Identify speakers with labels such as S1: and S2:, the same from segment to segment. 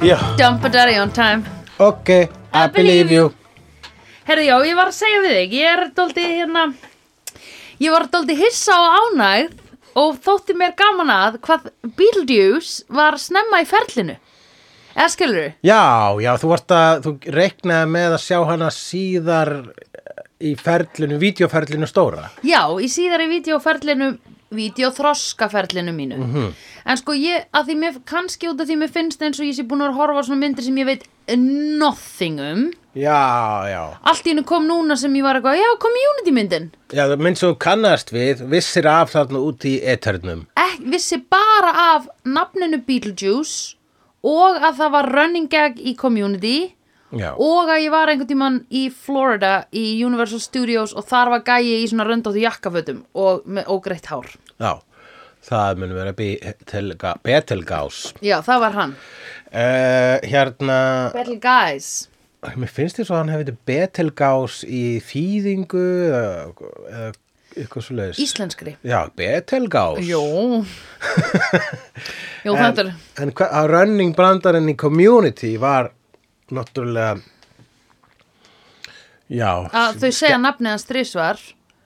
S1: Dumpadaddy on time
S2: Ok, I believe you
S1: Herðu já, ég var að segja við þig Ég er dóldi hérna Ég var dóldi hissa á ánægð Og þótti mér gaman að Hvað Beetlejuice var snemma í ferlinu Eða skilur
S2: Já, já, þú varst að, þú reiknaði með að sjá hana síðar eh, í ferlinu, vídeoferlinu stóra
S1: Já, í síðari vídeoferlinu Vídeoþroskaferlinu mínu En sko ég, að því mér Kannski út af því mér finnst eins og ég sé búin að horfa á Svona myndir sem ég veit nothing um
S2: Já, já,
S1: Allt í hennu kom núna sem ég var eitthvað Já, community myndin
S2: já, það minn sem þú kannast við, vissir af þarna út í eternum
S1: ek, vissi bara af nafninu Beetlejuice og að það var running gag í community
S2: Já,
S1: og að ég var einhvern tímann í Florida í Universal Studios og þar var gæi í svona röndóttu jakkafötum og með ógreitt hár.
S2: já, það mun vera Betelga, Betelgás
S1: Já, það var hann.
S2: uh, Hérna,
S1: Battle Guys.
S2: mér finnst þér svo að hann hefði Betelgás í þýðingu eða eða eitthvað svo leiðis
S1: Íslenskri.
S2: Já, Betelgás
S1: Jó. Jó, þetta er...
S2: En hva, að running brandarinn í community var náttúrulega Já,
S1: Að þau segja nafnið hans þrísvar.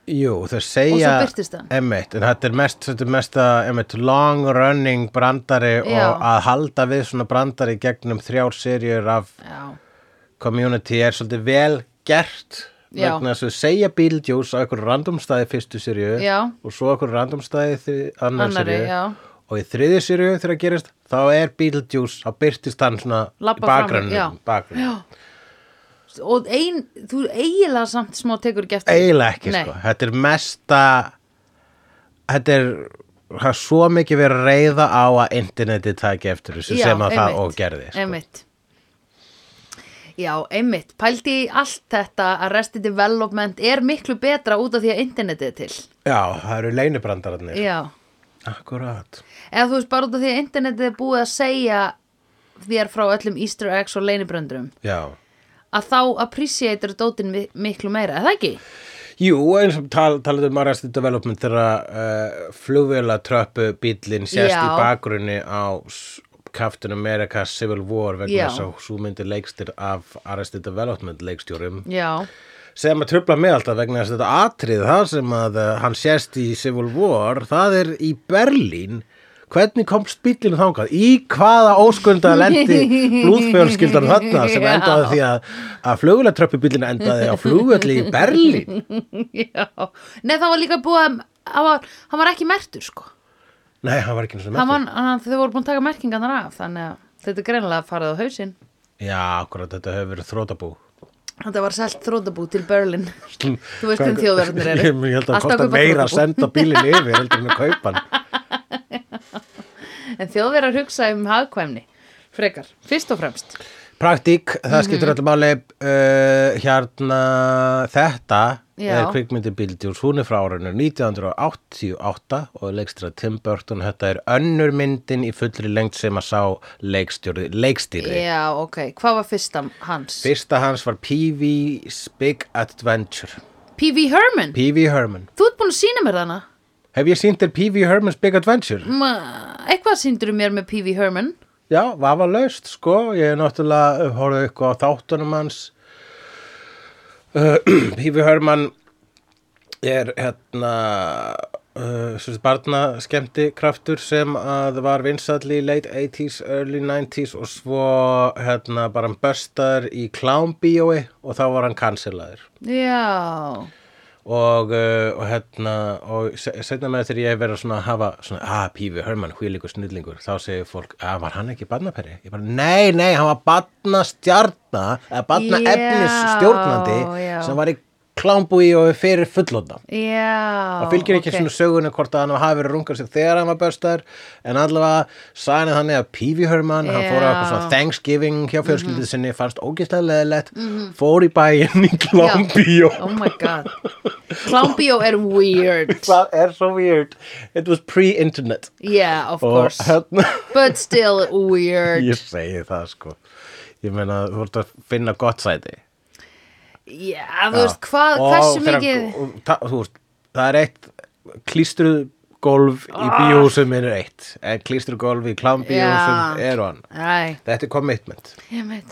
S2: jú, þau segja
S1: Og svo birtist hann.
S2: Emmett, en þetta er mest, þetta er mest að Emmett, long running brandari
S1: Já.
S2: og að halda við svona brandari gegnum þrjár serjur af
S1: Já.
S2: community er svolítið vel gert
S1: Já.
S2: vegna þess að þau segja Beetlejuice á einhverju randomstæði fyrstu sirju
S1: Já.
S2: og svo einhverju randomstæði þri- annar
S1: Annarri,
S2: sirju
S1: já.
S2: og í þriðju sirju þegar gerist þá er Beetlejuice, þá byrtist hann svona
S1: Labba
S2: í bakgrunni,
S1: fram, já.
S2: bakgrunni.
S1: Og ein, þú eiginlega samt smá tekur ekki eftir.
S2: eiginlega ekki
S1: Nei.
S2: sko þetta er mesta þetta er það er svo mikið verið að reyða á að internetið taki eftir þessu
S1: Já,
S2: sem að það
S1: einmitt,
S2: og gerði sko.
S1: einmitt Já, einmitt, pældi í allt þetta að resti development er miklu betra út af því að internetið er til
S2: já, það eru leinubrandararnir
S1: Já,
S2: akkurat
S1: eða þú veist bara út af því að internetið er búið að segja þér frá öllum easter eggs og leinibröndurum
S2: já
S1: að þá appreciator dótin mi- miklu meira, er það ekki?
S2: Jú, eins og tal, talaðu um Arrested Development þegar uh, flugvila tröppu bílinn sérst í
S1: Já.
S2: bakgrunni á s- Captain America Civil War
S1: Já.
S2: vegna þess að svo myndi leikstir af Arrested Development leikstjórum
S1: Já,
S2: sem að tröfla mig alltaf vegna þess að þetta atrið það sem að uh, hann sérst í Civil War það er í Berlín hvernig komst bílinn þangað í hvaða óskunda lendi blúðfjörnskildan þarna sem
S1: Já.
S2: endaði því að, að flugvila tröppu bílinn endaði á flugvölli í Berlín
S1: já Nei, það var líka búið að hann var, hann var ekki mertur sko
S2: Nei, hann var ekki eins og
S1: Hann
S2: mertur.
S1: var, hann, Þau voru búin að taka merkingarnar af þannig að þetta er greinlega farið á hausinn
S2: Já, akkurat, þetta hefur verið þrótabú.
S1: Þetta var selt þrótabú til Berlin. Þú veist
S2: Hvað-
S1: hvernig þjóðverðinir eru.
S2: Ég- Ég held að það
S1: Alltaf
S2: kostar
S1: kaupa
S2: meira að
S1: þrotabú.
S2: senda bílinn yfir heldur en að kaupa hann.
S1: En þjóðverðar hugsa um hagkvæmni. Frekar, fyrst og fremst.
S2: Praktík, það skiptir öllu máli uh, hérna þetta
S1: Já.
S2: er kvikmyndi Bildjús, hún er frá árinu 1988 og leikstýra Tim Burton, þetta er önnur myndin í fullri lengt sem að sá leikstjóri, leikstýri.
S1: Já, ok. Hvað var fyrsta hans?
S2: Fyrsta hans var P.V.'s Big Adventure,
S1: P.V. Herman.
S2: P.V. Herman.
S1: Þú ert búin að sína mér þarna.
S2: Hef ég sínt þér P.V. Herman's Big Adventure?
S1: Ma, eitthvað síndur mér með P.V. Herman.
S2: Já, vafa laust, sko. Ég er náttúrulega horfði eitthvað á þáttunum hans. Uh, Pífi Hörmann er hérna uh, sem sagt barna skemmti kraftur sem að var vinsall í late 80s, early 90s og svo hérna bara hann böstar í klámbíói og þá var hann kanselaður
S1: Já.
S2: og, uh, og hérna og setna með þegar ég hef verið svona að hafa svona, að Pífi Hörmann, hvílíkur snillingur þá segir fólk, að var hann ekki barnaperri? Ég bara, nei, nei, hann var barnastjarna eða barna
S1: Já, já.
S2: sem var í klámbúi og fyrir fullóta
S1: Já.
S2: Það fylgir ekki
S1: ok.
S2: svona sögunu hvort að hann hafi verið rungar sér þegar hann var bestar en allavega sæðan þannig að P.V. Herman, hann fór á eitthvað svona
S1: Já. Mhm.
S2: Thanksgiving hjá fjölskyldið sinni, fannst ógeðslega leðilegt, fór í bæinn í klámbíó
S1: Oh my god. Klámbíó er weird.
S2: Það er svo weird. It was pre-internet.
S1: Yeah, of
S2: Og
S1: course.
S2: hérna,
S1: But still weird.
S2: ég segi það sko. Ég meina, þú voru að finna gott sæti.
S1: Já, þú veist, hvað, hversu
S2: Og Ah. þegar-
S1: mikið...
S2: og ta- Þú veist, það er eitt klístruð klístrugólf í
S1: Ah.
S2: bíósum minn er eitt en klístrugólf í klámbíósum
S1: Já.
S2: er hann
S1: Æ,
S2: þetta er commitment
S1: ég veit.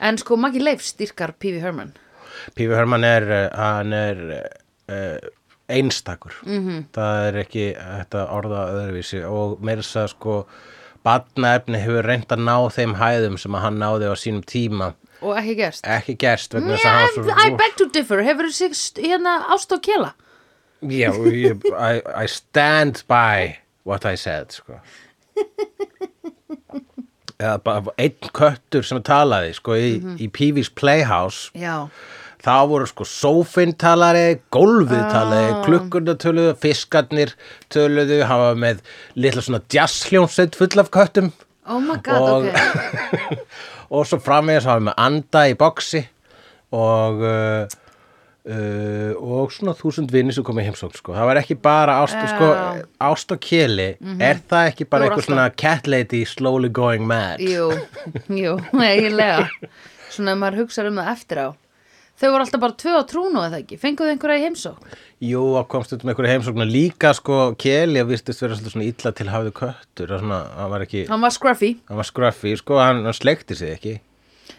S1: En sko, Maggi Leif styrkar P.V. Herman.
S2: Pífi Herman er, eh, hann er uh, einstakur
S1: Mhm.
S2: -hmm. það er ekki þetta orða öðruvísi og meira þess að sko batnaefni hefur reynd að ná þeim hæðum sem að hann náði á sínum tíma
S1: Og ekki gerst.
S2: ekki gerst vegna þess að
S1: Yeah,
S2: hann svo
S1: I beg to differ. Hefur þú sig hérna ást og kjela?
S2: Já, ég, I, I stand by what I said sko. eða bara einn köttur sem talaði sko, í,
S1: Mhm.
S2: í Peewee's Playhouse
S1: Já.
S2: þá voru sko sófinn talaði, gólfið talaði
S1: Ah.
S2: klukkurna töluðu, fiskarnir töluðu, hann var með litla svona jazzhljómsveit full af köttum
S1: Oh my god,
S2: og,
S1: ok.
S2: og svo framvegis hann var með anda í boksi og uh, uh, og svona þúsund vinni sem komið heimsókn sko. það var ekki bara ást,
S1: Já. Mhm.
S2: sko, ást og keli er það ekki bara
S1: Það voru
S2: eitthvað svona cat lady slowly going mad
S1: Jú, jú, eiginlega. Svona ef maður hugsa um það eftir á. Þau voru alltaf bara tvö á trúnu eða ekki. Fenguðu einhverja í heimsókn?
S2: Jú, að komst út með einhverju heimsóknu líka sko Kelly að vistist vera svolítið svona illa til hafðu köttur og svona, hann var ekki
S1: Hann var scruffy.
S2: hann var scruffy, sko, hann, hann sleikti sig ekki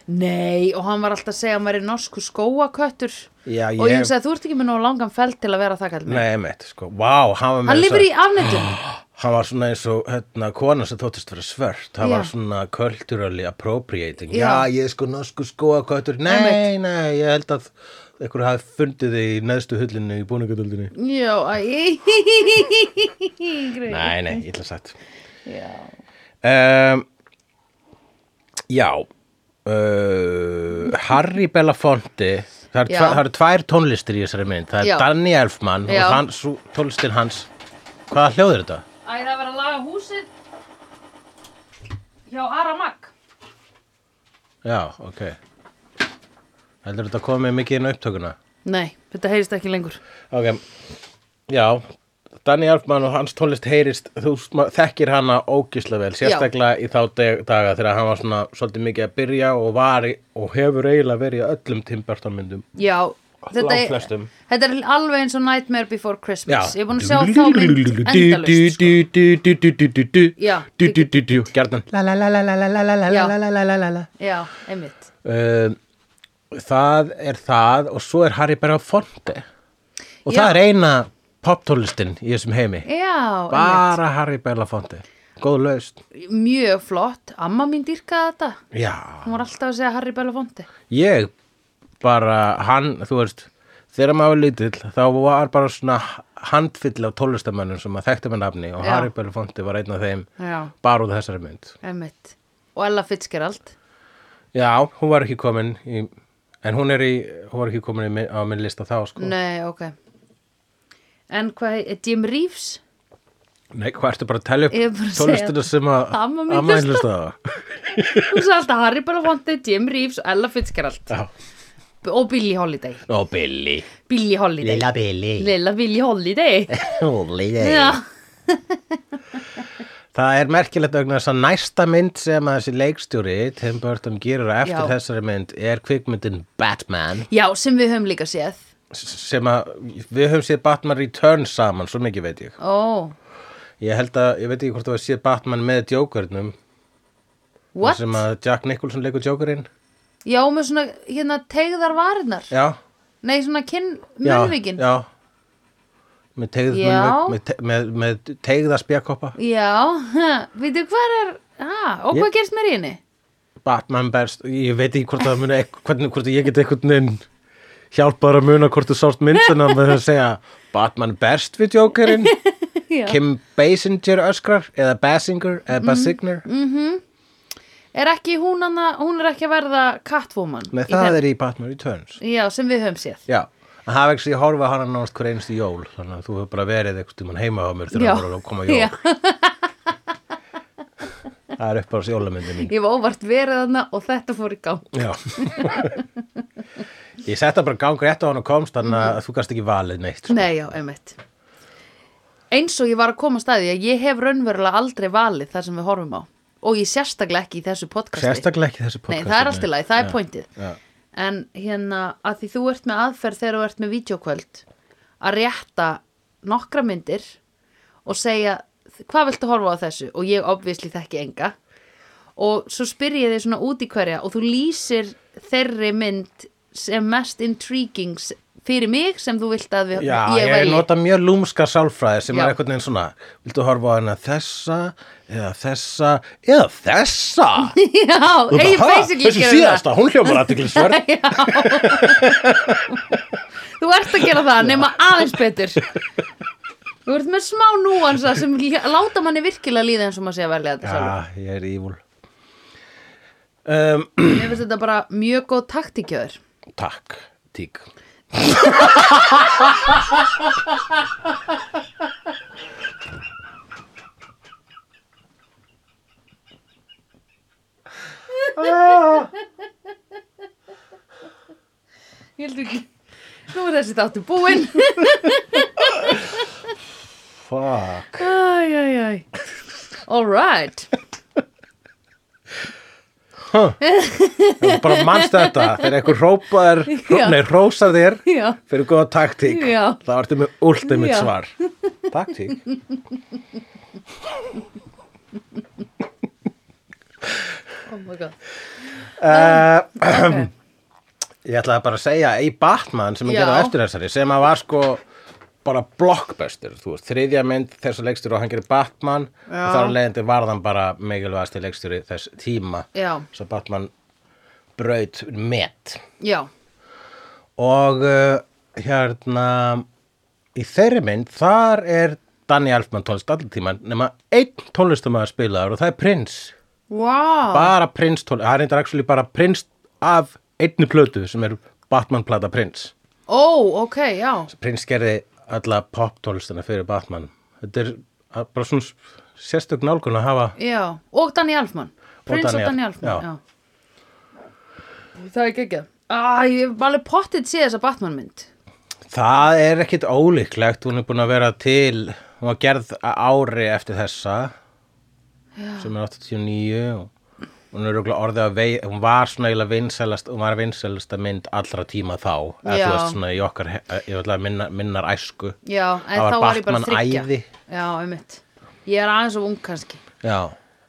S1: Nei, og hann var alltaf að segja að maður er norsku skóaköttur.
S2: Já,
S1: Og ég
S2: ég-
S1: hugsaði að þú ert ekki með nóg langan feld til að vera það kallið.
S2: Nei, meitt, sko, vá, hann var með
S1: Hann
S2: þessa-
S1: lifir í afnettum.
S2: Hann var svona eins og hérna, kona sem þóttist vera svört hann
S1: Já.
S2: var svona culturally appropriating
S1: Já.
S2: Já, ég er sko norsku skóa köttur Nei, nei, ég held að einhverju hafi fundið þig í neðstu hullinu í búningatöldinu
S1: Já, æ, greið.
S2: Nei, nei, illa sagt
S1: Já.
S2: um, Já uh, Harry Belafonte Það eru
S1: Já.
S2: tva- það eru tvær tónlistir í þessari mynd Það er
S1: Já.
S2: Danny Elfman
S1: Já.
S2: og hans, tónlistin hans Hvaða hljóð er þetta?
S1: Æ, það var að laga húsið hjá Aramag.
S2: Já, ok Heldur þetta komið mikið inn á upptökuna?
S1: Nei, þetta heyrist ekki lengur.
S2: Ok, já Danny Elfman og hans tónlist heyrist þú sma- þekkir hana ógislega vel sérstaklega í þá deg, daga þegar hann var svona svolítið mikið að byrja og var í, og hefur eiginlega verið í öllum Tim Burton myndum
S1: Já, þetta er,
S2: Langflestum.
S1: þetta er alveg eins og Nightmare Before Christmas. Ég er búin að sjá þá mynd endalust. Sko. Já,
S2: endalust Gjarnan
S1: Já, einmitt.
S2: Um, Það er það og svo er Harry bara fonte og það
S1: Já.
S2: er eina poptónlistin í þessum heimi
S1: Já,
S2: bara Harry Belafonte góð laust
S1: einmitt. Mjög flott. Amma mín dýrkaði þetta.
S2: já,
S1: Hún var alltaf að segja Harry Belafonte.
S2: ég bara hann, þú veist þegar maður var lítill, þá var bara svona handfyll af tólustamönnum sem að þekkti með nafni og
S1: Já.
S2: Harry Belafonte var einn af þeim
S1: Já,
S2: bara úr þessari mynd
S1: einmitt. Og Ella Fitzgerald.
S2: já, hún var ekki komin í, en hún er í, hún var ekki komin í, minn- á minn lista þá sko
S1: Nei, ok. En hvað, er Jim Reeves?
S2: nei, hvað ertu bara að telja
S1: Ég er
S2: upp
S1: bara að segja
S2: tólustinu sem að
S1: Amma mín
S2: amma
S1: hlustar.
S2: hlusta það
S1: Hún sagði alltaf Harry Belafonte, Jim Reeves og Ella Fitzgerald.
S2: Já.
S1: Og Billie Holiday.
S2: og Billy
S1: Billie Holiday. Lilla,
S2: Billy
S1: Billie Holiday.
S2: Holy day
S1: Já.
S2: Það er merkilegt vegna þess að næsta mynd sem að þessi leikstjóri Tim Burton gerur á eftir
S1: Já.
S2: þessari mynd er kvikmyndin Batman
S1: Já, sem við höfum líka séð.
S2: sem að við höfum séð Batman Returns saman, svo mikið veit ég
S1: Ó,
S2: Ég held að, ég veit ekki hvort þú að séð Batman með Jokernum þar
S1: what?
S2: sem að Jack Nicholson leikur Jokerinn
S1: Já, með svona, hérna, tegðar varirnar.
S2: Já,
S1: Nei, svona kinn,
S2: já,
S1: munvikin.
S2: já með tegð
S1: Já.
S2: með, te, með, með tegða spjakoppa
S1: já. veitu hvað er, ha, og hvað
S2: Ég-
S1: gerst með í henni?
S2: Batman berst, ég veit ekki hvort það muni ekk- hvernig, hvort ég get einhvern veginn hjálpar að muna hvort þú sást myndina með að segja Batman berst við Jokerinn
S1: Já. Mhm.
S2: Kim Basinger öskrar eða Basinger eða Basigner
S1: Er ekki hún hana, hún er ekki að verða Catwoman? hérna?
S2: Nei, það er í Batman Returns
S1: Já, sem við höfum séð.
S2: Já, en það er ekki ég horfa hana nátt hver einstu jól þannig að þú hefur bara verið einhvern tímann heima á mér þegar
S1: Já.
S2: það voru að koma jól
S1: Já.
S2: Það er upp á þessi jólamyndi mín
S1: Ég var óvart verið hana og þetta fór í gang.
S2: Já Ég setta bara gang rétt á hann og komst þannig að þú gast ekki valið neitt sko.
S1: Nei, já, einmitt. Eins og ég var að koma staði að ég hef raunverulega aldrei valið það sem við horfum á. Og ég sérstaklega ekki í þessu podcasti.
S2: Sérstaklega ekki þessi podcast
S1: Nei, það er allt í lagi, það er pointið.
S2: Já.
S1: En hérna, að því þú ert með aðferð þegar þú ert með vídeokvöld að rétta nokkra myndir og segja hvað viltu horfa á þessu og ég obvisli þekki enga og svo spyr ég þig svona út í hverja og þú lýsir þeirri mynd sem mest intriguing s- fyrir mig sem þú vilt að við,
S2: Já, ég, nota mjög lúmska sálfræði sem
S1: Já.
S2: er einhvern veginn svona Viltu horfa á hana þessa, eða þessa, eða þessa
S1: Já,
S2: Og
S1: ég
S2: bara, "Ha,
S1: basically
S2: Þessi
S1: gerði
S2: síðasta, hún hljómar aðtiklisverð
S1: Þú ert að gera það nema aðeins betur Þú ert með smá núansa sem lí- láta manni virkilega líða eins og maður sé að velja þetta sjálfur.
S2: Já, ég er ívul um,
S1: Mér finnst þetta bara mjög góð taktíkjöður
S2: Takk, tík Ah,
S1: Ég held ekki Nú er þessi þáttu búinn
S2: Fuck
S1: Æj, æj, æj All right
S2: Bara manst þetta, þegar einhver hrópar
S1: Já.
S2: Nei, rósar þér
S1: Já,
S2: Fyrir góða taktík
S1: Já.
S2: Það ertu með ultimate
S1: Já.
S2: svar Taktík
S1: oh my god
S2: uh,
S1: okay.
S2: Ég ætlaði bara að segja Í Batman sem ég
S1: Já.
S2: gerði á eftir þessari sem að var sko bara blockbuster, þú veist, þriðja mynd þessar leikstjóri og hann gerir Batman og
S1: Já.
S2: þar af leiðandi varðan bara megilvægasti leikstjóri þess tíma
S1: Já,
S2: svo Batman braut met
S1: já,
S2: og uh, hérna í þeirri mynd þar er Danny Elfman tónlist allir tíman nema einn tónlistamæður spilaður og það er Prince
S1: wow
S2: bara Prince tónlist, það er reyndar actually bara Prince af einni plötu sem er Batman plata Prince
S1: Ó, Oh, ok, já
S2: Prince gerði alla pop tónlistina fyrir Batman þetta er uh, bara svona sérstök nálgun að hafa
S1: Já, og Danny Elfman Prins og
S2: Danny
S1: Danny
S2: Elfman,
S1: Elfman, já. Það er geggjað Æ, ég hef alveg pottið sé þessa Batman mynd
S2: Það er ekkit ólíklegt, hún er búin að vera til, hún var gerð á- ári eftir þessa, Já. sem er 89 og hún er örugglega orðið að vei, hún var svona eiginlega vinsælast, hún var vinsælasta mynd allra tíma þá, eða
S1: Já.
S2: þú veist svona í okkar, he- eh, ég ætla að minna, minnar æsku.
S1: Já, en
S2: Það var
S1: þá var ég bara
S2: Batman
S1: þryggja
S2: æði.
S1: Já, einmitt Ég er aðeins og ung kannski
S2: Já,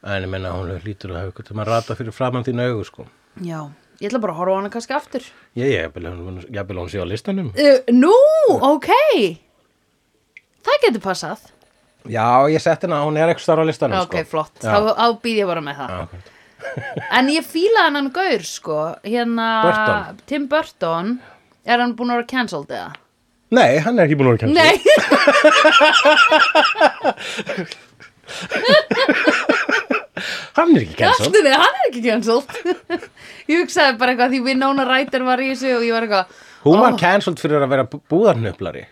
S2: en ég minna hún lítur að hafa ykkur til að rata fyrir framann þín augu sko.
S1: Já, ég ætla bara að horfa á hana kannski aftur
S2: Ég, ég, jafnvel hún- jafnvel hún sé á listanum.
S1: uh, Nú, ok Það getur passað
S2: Já, ég sett hennar, hún er ekki starf á listanum
S1: Já,
S2: sko.
S1: ok, flott,
S2: Já,
S1: þá, þá býð ég bara með það
S2: já, ok.
S1: En ég fílaði hann hann gaur, sko Hérna,
S2: Burton.
S1: Tim Burton Er hann búin að vera cancelled eða?
S2: Nei, hann er ekki búin að vera kæmst.
S1: Nei
S2: Hann er ekki cancelled.
S1: Aftur, nei, hann er ekki cancelled Ég hugsaði bara eitthvað því Winona Ryder var í þessu og ég var eitthvað
S2: Hún var
S1: Ó.
S2: cancelled fyrir að vera bú- búðarhnöplari.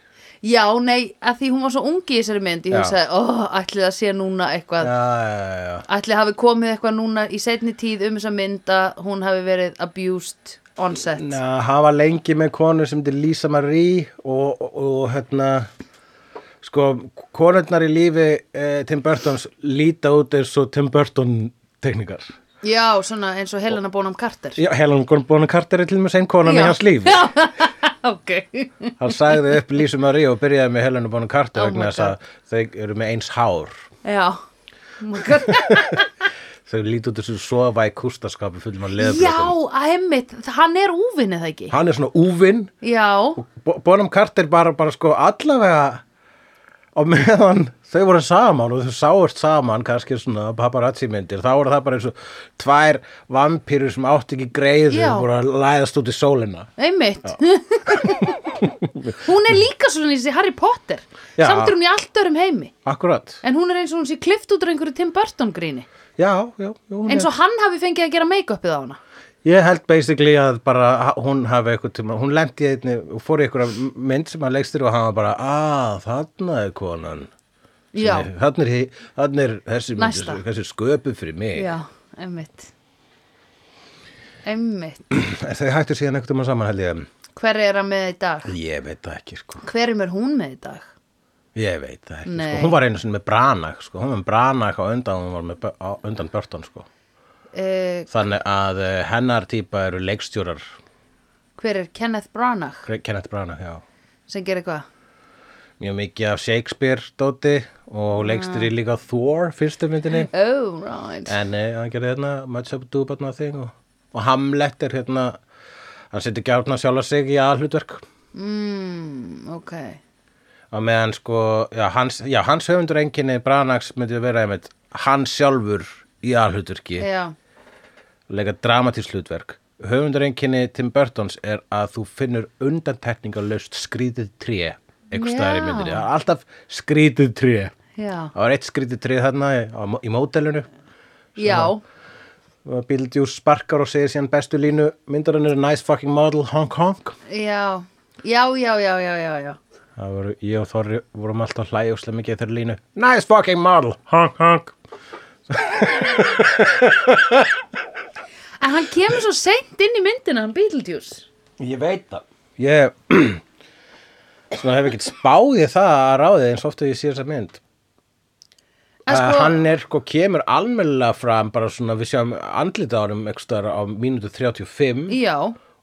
S1: Já, nei, að því hún var svo ungi í þessari mynd Ég
S2: Já.
S1: hugsaði, ó, ætli það sé núna eitthvað
S2: Já, já, já.
S1: Ætli hafi komið eitthvað núna í setni tíð um þessa mynd að hún hafi verið abused on set.
S2: Ná, hann var lengi með konu sem til Lisa Marie og, og, og hérna, sko, konurnar í lífi eh, Tim Burtons líta út eins og Tim Burton teknikar.
S1: Já, svona eins og Helena Bonham Carter.
S2: Já, Helen Bonham Carter er til með sein konan í
S1: Já.
S2: hans lífi.
S1: ok.
S2: Hann sagði upp Lisa Marie og byrjaði með Helen Bonham Carter
S1: Oh my
S2: vegna þess að þau eru með eins hár.
S1: Já. Oh my God.
S2: Þau líta út eins og sofa í kústaskapu fullum af
S1: Já,
S2: leðbrötum.
S1: emmitt, hann er úvinnið það ekki?
S2: Hann er svona úvinn
S1: Já,
S2: Bo- Bonham Carter bara, bara sko allavega og meðan þau voru saman og þau sáust saman kannski svona paparazzi myndir þá voru það bara eins og tvær vampýrur sem átti ekki greiðu
S1: Já.
S2: voru að læðast út í sólina
S1: einmitt. hún er líka svona í þessi Harry Potter.
S2: Já.
S1: Samt er hún í allt örum heimi.
S2: akkurat,
S1: En hún er eins og hún sé klift út úr einhverju Tim Burton gríni.
S2: já, já, já hún
S1: Eins og hann hafi fengið að gera make-upið á hana.
S2: Ég held basically að bara ha- hún hafi eitthvað tíma, hún lendi einni og fór í eitthvað mynd sem að leikstir og hann var bara, að þarna er konan sem
S1: Já.
S2: er- þarna er, hi- þarna er þessi, mynd,
S1: Næsta.
S2: þessi sköpu fyrir mig
S1: Já, einmitt Einmitt
S2: þau hættu síðan einhvern tíma saman held ég
S1: Hver er hann með í dag?
S2: Ég veit það ekki, sko.
S1: Hverjum er hún með í dag?
S2: Ég veit það ekki,
S1: Nei.
S2: sko. Hún var einu sinni með Branagh, sko. Hún var með Branagh á undan, hún var með Bö- á undan Börton, sko.
S1: Uh,
S2: Þannig að eh, hennar típa eru leikstjórar,
S1: hver er Kenneth Branagh
S2: Kenneth Branagh, já.
S1: sem gerir hvað?
S2: mjög mikið af Shakespeare dóti og leikstur í líka Thor fyrstu myndinni
S1: Oh, right.
S2: en eh, hann gerði hérna Much Ado About Nothing og, og Hamlet er hérna hann setur gjárna sjálfa sig í aðhlutverk
S1: Mm, ok.
S2: og meðan sko já, hans, já, hans höfundur enginni Branax myndi vera einmitt hann sjálfur í aðhlutverki
S1: Já.
S2: leika dramatísk hlutverk höfundureinkinni Tim Burtons er að þú finnur undantekningarlaust skrítið tré einhvers staðar í
S1: Já.
S2: myndinni, það er alltaf skrítið tré
S1: Já.
S2: það var eitt skrítið tré þarna í, á, í mótelinu
S1: Já.
S2: Bildjús sparkar og segir síðan bestu línu myndarinn er nice fucking model Hong Kong
S1: Já. Já, já, já, já, já, já.
S2: það voru ég og Þorri vorum alltaf hlægjúslega mikið þegar línu nice fucking model Hong Kong
S1: En hann kemur svo seint inn í myndina, hann Beetlejuice.
S2: Ég veit það Ég svona hef ekkert spáði það að ráðið eins oft og ég sé þessa mynd
S1: En
S2: að
S1: sko-
S2: hann er sko kemur almennilega fram bara svona við sjáum andlita árum ekstra á mínútu 35
S1: Já.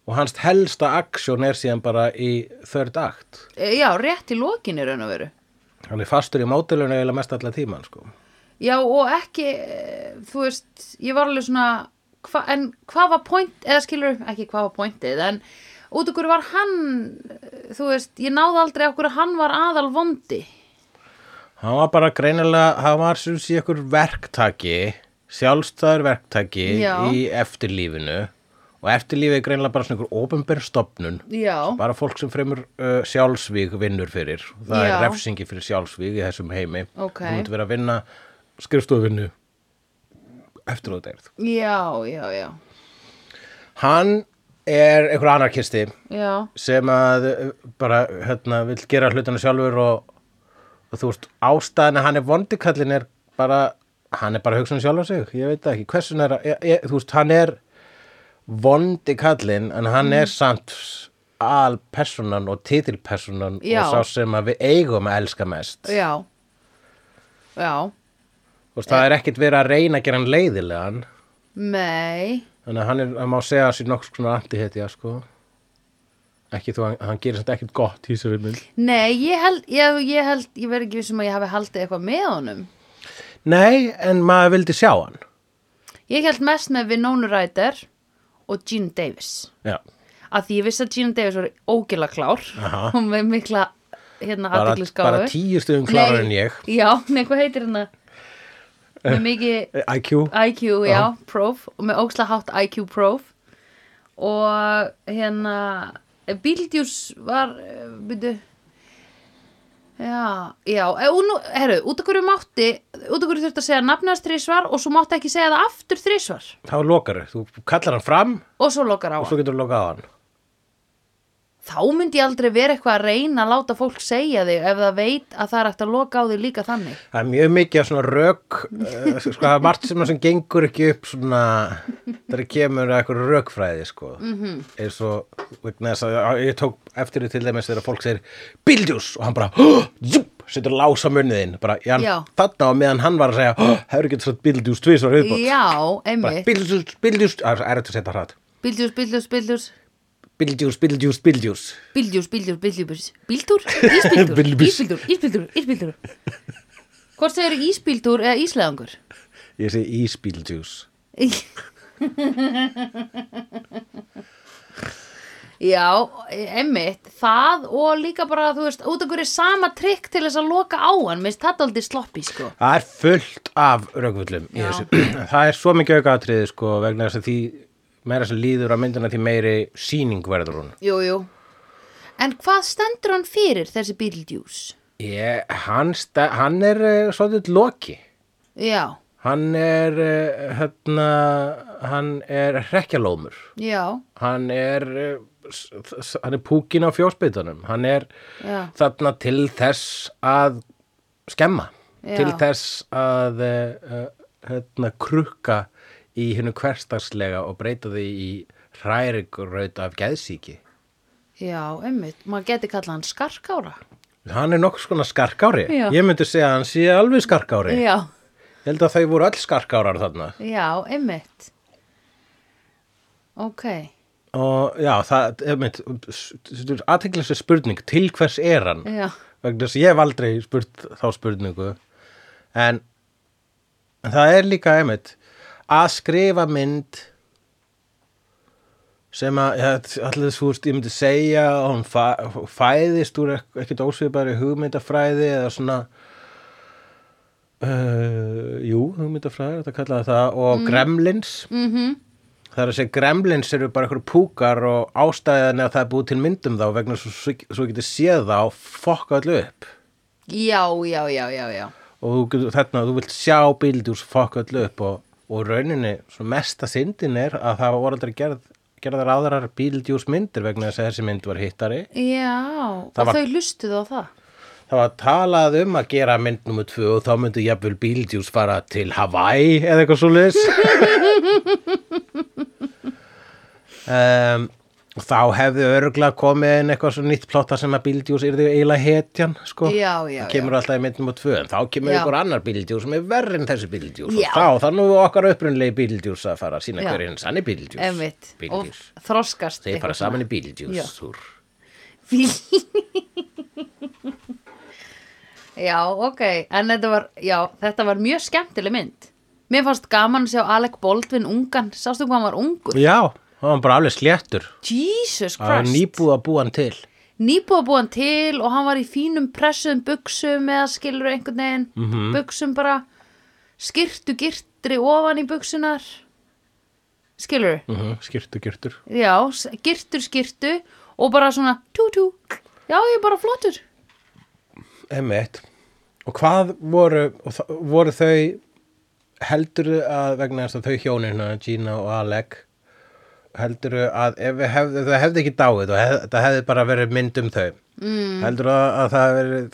S2: og hans helsta aksjón er síðan bara í þörd akt
S1: E, Já, rétt í lokinu raun og veru.
S2: hann er fastur í mótilunum eiginlega mest allar tíman sko.
S1: Já, og ekki, eh, þú veist, ég var alveg svona, hva, en hvað var point, eða skilur, ekki hvað var pointið, en út okkur var hann, eh, þú veist, ég náði aldrei okkur að hann var aðal vondi.
S2: hann var bara greinilega hann var sem sé ykkur verktaki sjálfstæður verktaki
S1: Já.
S2: í eftirlífinu og eftirlífið er greinilega bara svona ykkur ofinbær stopnun
S1: Já,
S2: bara fólk sem fremur uh, sjálfsvíg vinnur fyrir, það
S1: Já.
S2: er refsingi fyrir sjálfsvíg í þessum heimi
S1: Ok.
S2: þú myndir vera að vinna skrifstofinnu eftir þú deyrð
S1: já, já, já,
S2: hann er einhver anarkisti
S1: já,
S2: sem að uh, bara hérna, vill gera hlutina sjálfur og, og þú veist ástæðan að hann er vondikallin er bara hann er bara að hugsa um sjálf á sig, ég veit það ekki hversun er, að- ég, ég, þú veist, hann er vondikallin en hann
S1: Mm.
S2: er samt alpersonan og titilpersonan
S1: Já.
S2: og sá sem að við eigum að elska mest
S1: já, já,
S2: þú veist, það er ekkit verið að reyna að gera hann leiðilegan
S1: mei,
S2: þannig að hann, er, hann má segja sér nokkuð svona antihetja sko ekki þú, hann, hann gerir samt ekkit gott í þessari mynd
S1: nei, ég held, ég, ég held, ég verð ekki vissum að ég hafi haldið eitthvað með honum.
S2: Nei, en maður vildi sjá hann.
S1: Ég held mest með Winona Ryder og Gene Davis.
S2: Já,
S1: að því ég vissi að Gina Davis var ógila klár
S2: Aha.
S1: og með mikla hérna
S2: bara,
S1: aðdeglisgáfu
S2: bara tíu stuðum klarar en ég.
S1: já, nei, hvað heitir hérna með mikið
S2: IQ.
S1: IQ, já, próf og með ógslag hátt IQ próf og hérna Bildjús var eh, byrju já, já, eh, og nú, herru út af hverju mátti, út af hverju þurfti að segja nafnast þrísvar og svo mátti ekki segja það aftur þrísvar
S2: Þá lokar þau. Þú kallar hann fram
S1: og svo lokar á
S2: og
S1: hann
S2: svo getur þú lokað á hann.
S1: þá myndi ég aldrei vera eitthvað að reyna að láta fólk segja þig ef það veit að það er eftir að loka á þig líka þannig.
S2: Það er mjög mikið af svona rök, uh, sko, það er margt sem, sem gengur ekki upp svona, það er kemur að eitthvað rökfræði, sko. Mm
S1: Mhm.
S2: -hmm. Eins og, vegna þess að ég tók eftir því til dæmis þegar fólk segir Bildjús og hann bara, "Hó!" zúp, setur lás á munniðin. Bara, já,
S1: Já.
S2: þarna á meðan hann var að segja, hefur ekki þess að Bildjús tvisvar viðbútt.
S1: Já, einmitt.
S2: Bildjús, Bildjús, það er erfitt að setja hratt.
S1: Bildjús, bildjús, bildjús,
S2: Bildjús, bildjús, bildjús
S1: bildjús, bildjús, bildjús, bildjúr, ísbildur,
S2: Bildjús.
S1: ísbildur, ísbildur, ísbildur. Hvort segir ísbildur eða íslegangur?
S2: Ég segi ísbildjús
S1: Já, einmitt, það og líka bara, þú veist, út af hverju er sama trikk til þess að loka á hann, minnst þetta aldrei sloppy, sko.
S2: Það er fullt af rökvöllum í
S1: Já.
S2: þessu. Það er svo mikið aukaðatriði sko vegna þess að því meira sem líður á myndina því meiri sýning verður hún
S1: Jú, jú. En hvað stendur hann fyrir þessi Beetlejuice?
S2: Ég, hann, sta- hann er uh, svolítið loki
S1: Já,
S2: Hann er uh, hérna, hann er hrekkjalómur
S1: já,
S2: Hann er uh, s- s- hann er púkin á fjósbytunum Hann er
S1: já,
S2: þarna til þess að skemma
S1: Já.
S2: til þess að uh, hérna, krukka í hennu hverstagslega og breyta því í hrærigraut af geðsíki
S1: já, einmitt. Maður geti kallað hann skarkára.
S2: hann er nokkuð skona skarkári
S1: Já.
S2: ég myndi segja að hann sé alveg skarkári
S1: Já,
S2: ég held að þau voru öll skarkárar þarna
S1: já, einmitt. Ok,
S2: og já, það aðteglislega spurning, til hvers er hann
S1: já,
S2: vegna þess að ég hef aldrei spurt þá spurningu en, en það er líka einmitt að skrifa mynd sem að allir þú veist, ég myndi segja að hún fæ- fæðist úr ekk- ekkert ósvipari hugmyndafræði eða svona uh, jú, hugmyndafræði þetta kallaði það og gremlins
S1: mm
S2: Það er að segja gremlins eru bara einhverju púkar og ástæðan er að það er búið til myndum þá vegna svo, svo, svo getur séð þá fokka allu upp
S1: Já, já, já, já, já
S2: og þú getur, þarna, þú vilt sjá bildjús fokka allu upp og, og rauninni, svo mesta syndin er að það voru aldrei gerð, gerðar aðrar bildjús myndir vegna þess að þessi mynd var hittari
S1: Já,
S2: Það
S1: og
S2: var-
S1: þau lustuðu á það
S2: það var talað um að gera mynd nummer tvö og þá myndi jafnvel Beetlejuice fara til Hawaii eða eitthvað svo liðs um, og þá hefði örgulega komið inn eitthvað svo nýtt plotta sem að Beetlejuice yrði eiginlega hetjan sko.
S1: Já, já,
S2: það kemur alltaf í mynd nummer tvö en þá kemur
S1: Já.
S2: ykkur annar Beetlejuice sem er verri en þessi Beetlejuice
S1: Já.
S2: og þá, þá nú er okkar upprunlegi Beetlejuice að fara að sína
S1: Já.
S2: hverju hins hann er Beetlejuice
S1: Einmitt, og
S2: Beetlejuice,
S1: þroskast
S2: þeir fara saman í Beetlejuice
S1: Já.
S2: Þúr.
S1: Fí- Já, ok, en þetta var, já, þetta var mjög skemmtileg mynd. Mér fannst gaman að sjá Alec Baldwin ungan, sástu hvað hann var ungur?
S2: já, það var bara alveg sléttur
S1: Jesus
S2: það var
S1: Christ.
S2: nýbúið að búa hann til
S1: Nýbúið að búa hann til og hann var í fínum pressuðum buksum eða skilur einhvern veginn,
S2: Mhm.
S1: buksum bara, skirtu girtri ofan í buksunar, skilur,
S2: Uh -huh, skýrtu, skýrtur.
S1: já, s- girtur skirtu og bara svona tú-tú, já, ég er bara flottur.
S2: Emmett. Og hvað voru, og þa- voru þau, heldurðu að vegna þess að þau hjónina, Gina og Alec, heldurðu að ef við hefði, þau hefði ekki dáið og hef, það hefði bara verið mynd um þau, mm. heldurðu að, að það hefði verið,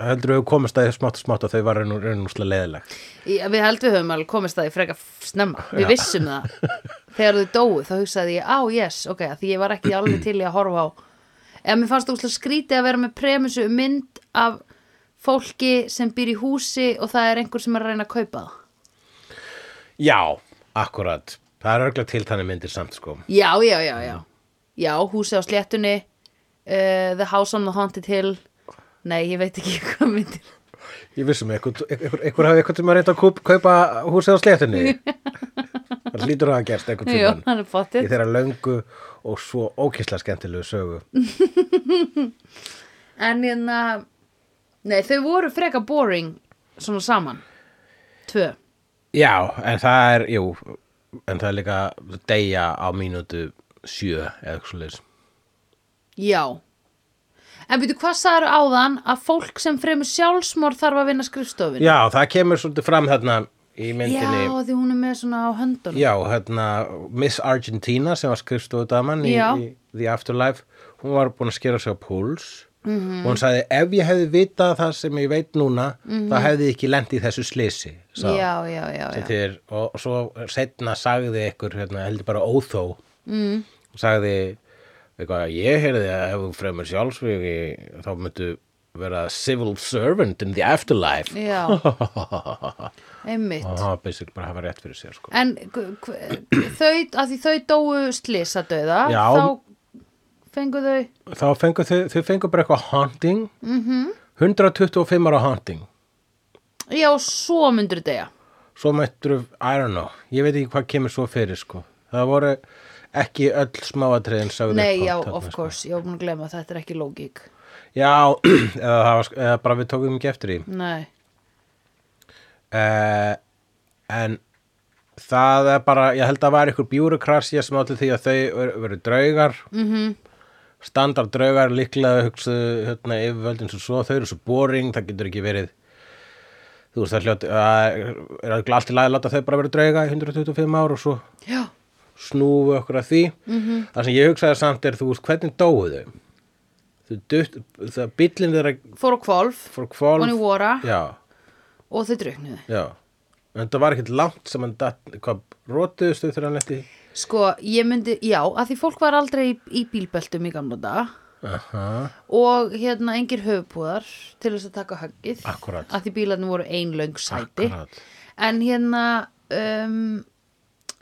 S2: heldurðu að þau komast að þau smátt og smátt að þau var raunúslega leðileg.
S1: Já, við heldum við höfum alveg komist að því freka snemma, við vissum það þegar þau dóu þá hugsaði ég, á yes, ok af því ég var ekki alveg til í að horfa á eða mér fannst úrslega skrítið að vera með premissu um mynd af fólki sem býr í húsi og það er einhver sem er að reyna að kaupa það
S2: Já, akkurat. Það er örglega til þannig myndir samt sko.
S1: Já, já, já, já Já, húsi á sléttunni uh, The House on the Haunted Hill Nei, ég veit ekki hvað myndir
S2: Ég vissum eitthvað, eitthvað, eitthvað hafi eitthvað sem að reynda að kaup, kaupa húsið á sléttunni. það hlýtur að hafa gerst eitthvað
S1: Jú,
S2: tímann.
S1: hann er
S2: í
S1: bóttið
S2: þeirra löngu og svo ókysla skemmtilegu sögu
S1: En hérna, nei, þau voru freka boring svona saman Tvö
S2: já, en það er, jú en það er líka deyja á mínútu sjö eða eitthvað svoleiðis
S1: Já. En byrju, hvað sagður áðan að fólk sem fremur sjálfsmór þarf að vinna skrifstofinu?
S2: já, það kemur svolítið fram þarna í myndinni
S1: Já, því hún er með svona á höndunum.
S2: Já, hérna Miss Argentina sem var skrifstofu daman í,
S1: Já.
S2: í The Afterlife hún var búin að skera sig á púls
S1: Mhm.
S2: og hún sagði ef ég hefði vitað það sem ég veit núna þá hefði ég ekki lent í þessu slisi
S1: já, Mhm. já, já, já.
S2: sem þýðir, og svo setna sagði ykkur, hérna, heldur bara óþó mm.
S1: Mhm.
S2: sagði eitthvað, ég heyrði að ef þú fremur sjálfsvíði þá myndu vera civil servant in the afterlife
S1: Já.
S2: og
S1: Einmitt.
S2: hann basically bara hafa rétt fyrir sér sko.
S1: En gu- hve- þau, að því þau dóu slisadauða,
S2: Já.
S1: þá fengu þau,
S2: þá fengu þau, þau fengu bara eitthvað haunting mm -hmm. 125 ára haunting
S1: já, svo myndur degja.
S2: svo mættur, I don't know ég veit ekki hvað kemur svo fyrir sko. það voru ekki öll smáatriðin sögðu upp
S1: Nei,
S2: á
S1: já,
S2: þarna,
S1: of
S2: sko.
S1: course, ég var búin að glema, þetta er ekki lógík.
S2: Já, eða, það var, eða bara við tókum ekki eftir því.
S1: Nei.
S2: Uh, en það er bara, ég held að var ykkur bjúrukrasja sem átti því að þau ver- veru draugar. Mm -hmm. Standard draugar líklega hugsu hérna, yfirvöldin sem svo, þau eru svo boring, það getur ekki verið. Þú veist það hljótt, það er örugglega allt í lagi að láta þau bara vera drauga í 125 ár og svo
S1: Já.
S2: snúfu okkur að því -hmm. það sem ég hugsaði samt er þú veist hvernig dóu þau þau dutt, það bíllinn þeirra
S1: Fór á kvolf,
S2: fór kvolf
S1: Ofan í vora.
S2: já,
S1: og þau druknuðu.
S2: já. En það var ekkert langt sem hann datt, hvað rótuðustu þegar hann letti
S1: Sko, ég myndi, já, að því fólk var aldrei í, í bílbeltum í gamla dag
S2: Aha.
S1: og hérna engir höfupúðar til þess að taka höggið
S2: Akkúrat.
S1: að því bílarnir voru einlöng sæti
S2: Akkúrat.
S1: en hérna um,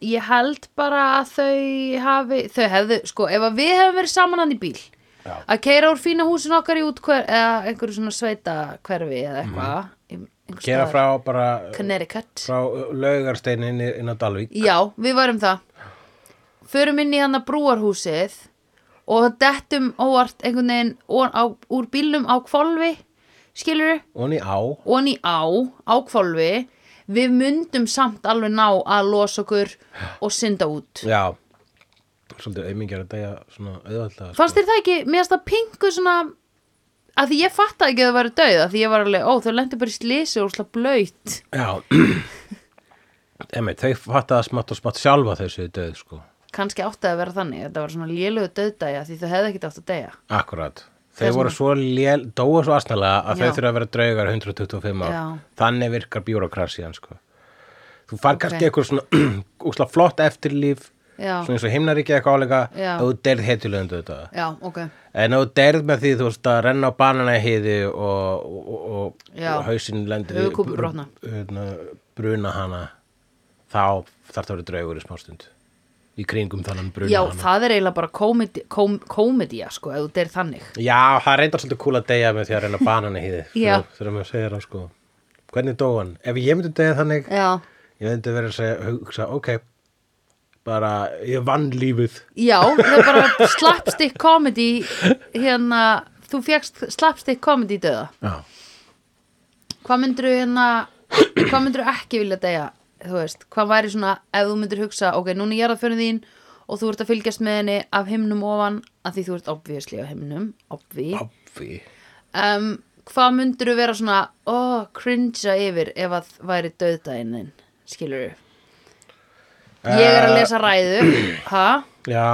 S1: ég held bara að þau hafi þau hefðu, sko, ef að við hefum verið saman hann í bíl
S2: Já.
S1: að keira úr fína húsin okkar í útkver eða einhverju svona sveita hverfi eða eitthvað mm.
S2: Gera Mhm. frá bara
S1: Connecticut
S2: frá laugarsteinu inn, í- inn á Dalvík.
S1: já, við varum það förum inn í hann að brúarhúsið og dettum óvart einhvern veginn ofan á, úr bílnum á kvolfi skilur
S2: Og hann í á.
S1: og í á, á kvolfi við myndum samt alveg ná að losa okkur og synda út
S2: Já. Svolítið auðmingjar að degja svona sko. auðvöldlega.
S1: fannst þér það ekki, mér finnst það pingu svona að því ég fattaði ekki að það væri dauð að því ég var alveg, ó þau lendu bara í slisi og slá blöyt
S2: Já. Emi, þau fattaði smátt og smátt sjálfa þessu döð, sko.
S1: kannski átti að vera þannig, þetta var svona lélögu döðdæja því þau hefði ekkert átt að dæja
S2: Akkurat. Þau
S1: Þess
S2: voru
S1: vegna.
S2: svo lél, dóa svo asnalega
S1: Já.
S2: að þau þurfa að vera draugar 125 ár.
S1: Já.
S2: Þannig virkar bjúrokrasían, sko. Þú fær kannski
S1: Ok.
S2: eitthvað svona úsla flott eftirlíf,
S1: já,
S2: svona eins og himnaríkja eitthvað álega,
S1: Já.
S2: að þú deyrð heitulöndu þetta.
S1: já, ok
S2: En ef þú deyrð með því, þú veist, að renna á bananahýði og, og, og,
S1: Já.
S2: og hausinn lendir í
S1: Höfuðkúpur brotna.
S2: br- hérna, bruna hana, þá þarf það að vera draugur í smástund. Í kringum þannan bruna
S1: já,
S2: hana.
S1: það er eiginlega bara komedi, kom, komedía sko, ef þú deyr þannig
S2: Já, það er reyndar svolítið kúl að deyja með því að reyna banan í hýði
S1: Já.
S2: Þegar maður segir það sko Hvernig dó hann? Ef ég myndi deyja þannig
S1: já,
S2: Ég myndi verið að segja, hugsa, ok Bara, ég vann lífið
S1: já það er bara slapstick komedi hérna, þú fegst slapstick komedi döða
S2: Já,
S1: hvað myndir þú hérna hvað myndir þú ekki vilja degja þú veist, hvað væri svona ef þú myndir hugsa ok, núna ég er að fyrir þín og þú ert að fylgjast með henni af himnum ofan af því þú ert obviously á himnum obvi.
S2: obvi
S1: um, hvað myndir þú vera svona oh, cringe yfir ef að væri döðdæinn þinn, skilur ég er að
S2: Eh.
S1: lesa ræður ha?
S2: Já,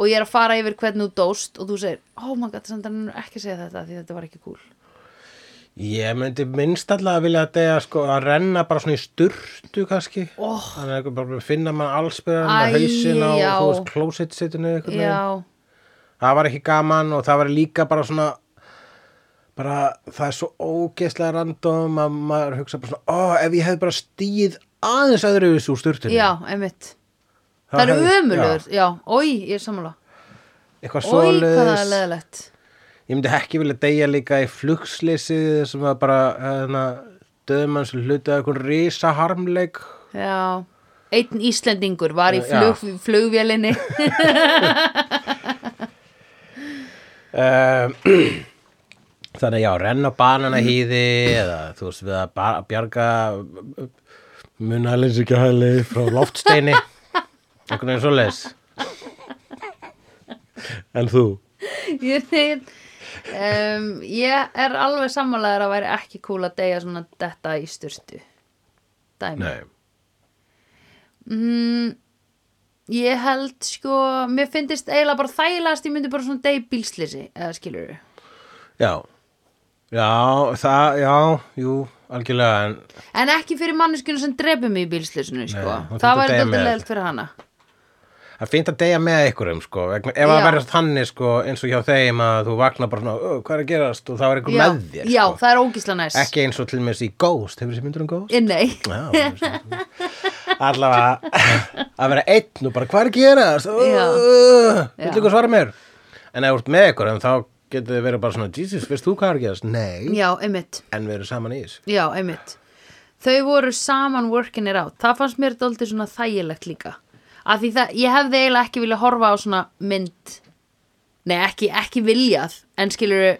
S1: og ég er að fara yfir hvernig þú dóst og þú segir, oh my god, samt hann er ekki að segja þetta af því þetta var ekki cool
S2: ég myndi minnst allavega að vilja að deyja sko Að renna bara svona í sturtu kannski
S1: Oh.
S2: Þannig að einhver bara finna mann allsbyrðan
S1: Æ,
S2: með hausin á
S1: já.
S2: Þú veist, klósitt sittinu
S1: já,
S2: það var ekki gaman og það var líka bara svona bara það er svo ógeðslega random að maður hugsa bara svona ó, ef ég hefði bara stíð aðeins öðru úr sturtunni
S1: já, einmitt Það eru
S2: hefði-
S1: ömulugur,
S2: já,
S1: já, oi, ég er sammála
S2: eitthvað
S1: Oi, hvað það er
S2: svoleiðis
S1: leðilegt
S2: ég myndi ekki vilja deyja líka í flugslisi sem var bara hérna, döðmanns hluti að eitthvað risa harmleik
S1: Já, einn Íslendingur var í
S2: Eh, Já.
S1: flug, flugvélinni
S2: Um, Þannig já, renna á bananahýði eða þú veist við að ba- bjarga munalins ekki hæli frá loftsteini einhvern veginn svo leis En þú?
S1: Ég þeir um, Ég er alveg sammálaður að væri ekki cool að deyja svona detta í sturtu Dæmi
S2: Nei,
S1: mm, Ég held sko, mér finnist eiginlega bara þægilegast ég myndi bara svona deyja í bílslisi eða skilur
S2: já Já, það, já, jú, algjörlega en
S1: En ekki fyrir manneskjuna sem drepum í bílslisinu sko.
S2: hún þurfti að
S1: Það væri
S2: deyja
S1: dálítið
S2: með.
S1: leðilt fyrir hana
S2: það er fínt að deyja með einhverjum sko, vegna- ef að
S1: Já.
S2: verðast þannig sko eins og hjá þeim að þú vaknar bara svona, "Ö, hvað er að gerast og það var einhver
S1: já,
S2: með þér
S1: já,
S2: sko.
S1: það er ógísla næs
S2: ekki eins og til með þessi Ghost, hefur þessi myndur um Ghost?
S1: Ég nei
S2: Já, allavega að vera einn og bara hvað er að gera
S1: Já.
S2: vil
S1: Já.
S2: ykkur svara mér en ef þú ert með ykkur en þá getur þið verið bara svona Jesus, veist þú hvað er að gerast? Nei,
S1: Já, einmitt,
S2: en við erum saman í þess
S1: já, einmitt Þau voru saman working it out Það fannst mér dálítið svona þægilegt líka Af því það, ég hefði eiginlega ekki vilja horfa á svona mynd Nei, ekki, ekki viljað En skilur uh,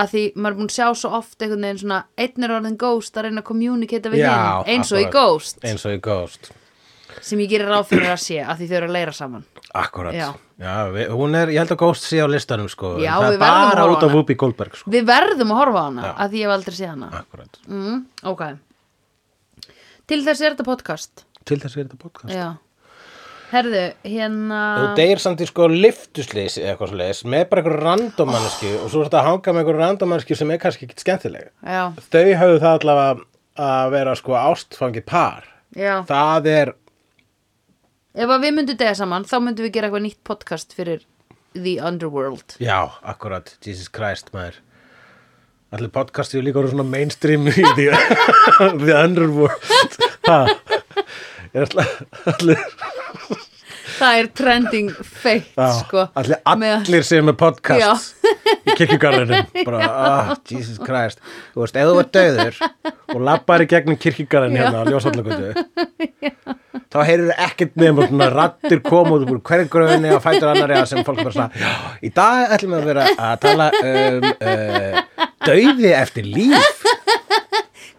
S1: að því maður er búin að sjá svo oft einhvern veginn svona einn er orðin ghost að reyna að kommunikata við hinn eins og í ghost
S2: eins og í Ghost,
S1: sem ég gerir ráð fyrir að sé að því þau eru að leira saman
S2: akkurat
S1: Já.
S2: já. við, hún er, ég held að Ghost sé á listanum sko, en
S1: Já, við
S2: það er
S1: verðum að
S2: bara
S1: horfa á
S2: út af
S1: hana.
S2: Whoopi Goldberg sko.
S1: Við verðum að horfa á hana
S2: Já.
S1: að því ég hef aldrei séð hana
S2: akkurat,
S1: mm, Ok Til þess er þetta podcast
S2: til þess er þetta podcast
S1: Já. Herðu, hérna...
S2: Þú deyr samt í sko liftuslýs eða eitthvað svo með bara einhver randomanneski og svo er þetta að hanga með einhver randomanneski sem er kannski ekki skemmtileg
S1: Já,
S2: þau höfðu það allavega að vera sko ástfangið par
S1: já.
S2: það er,
S1: Ef að við myndum dega saman, þá myndum við gera eitthvað nýtt podcast fyrir The Underworld.
S2: já, akkurat Jesus Christ maður allir podcastið er líka orðið svona mainstream í því the underworld ha, er allir, allir
S1: það er trending feitt
S2: Já,
S1: sko
S2: allir,
S1: Með-
S2: allir sem er með podcast í kirkjugarðinum bara, ah, Jesus Christ þú veist, ef þú var döður og lappar í gegnum kirkjugarðin
S1: Já.
S2: hérna á ljósallakundu þá heyrir ekkert nema svona rattir koma út úr hverju gröðinni og fætur annari að sem fólk bara svona, já, í dag ætlum við að vera að tala um uh, döði eftir líf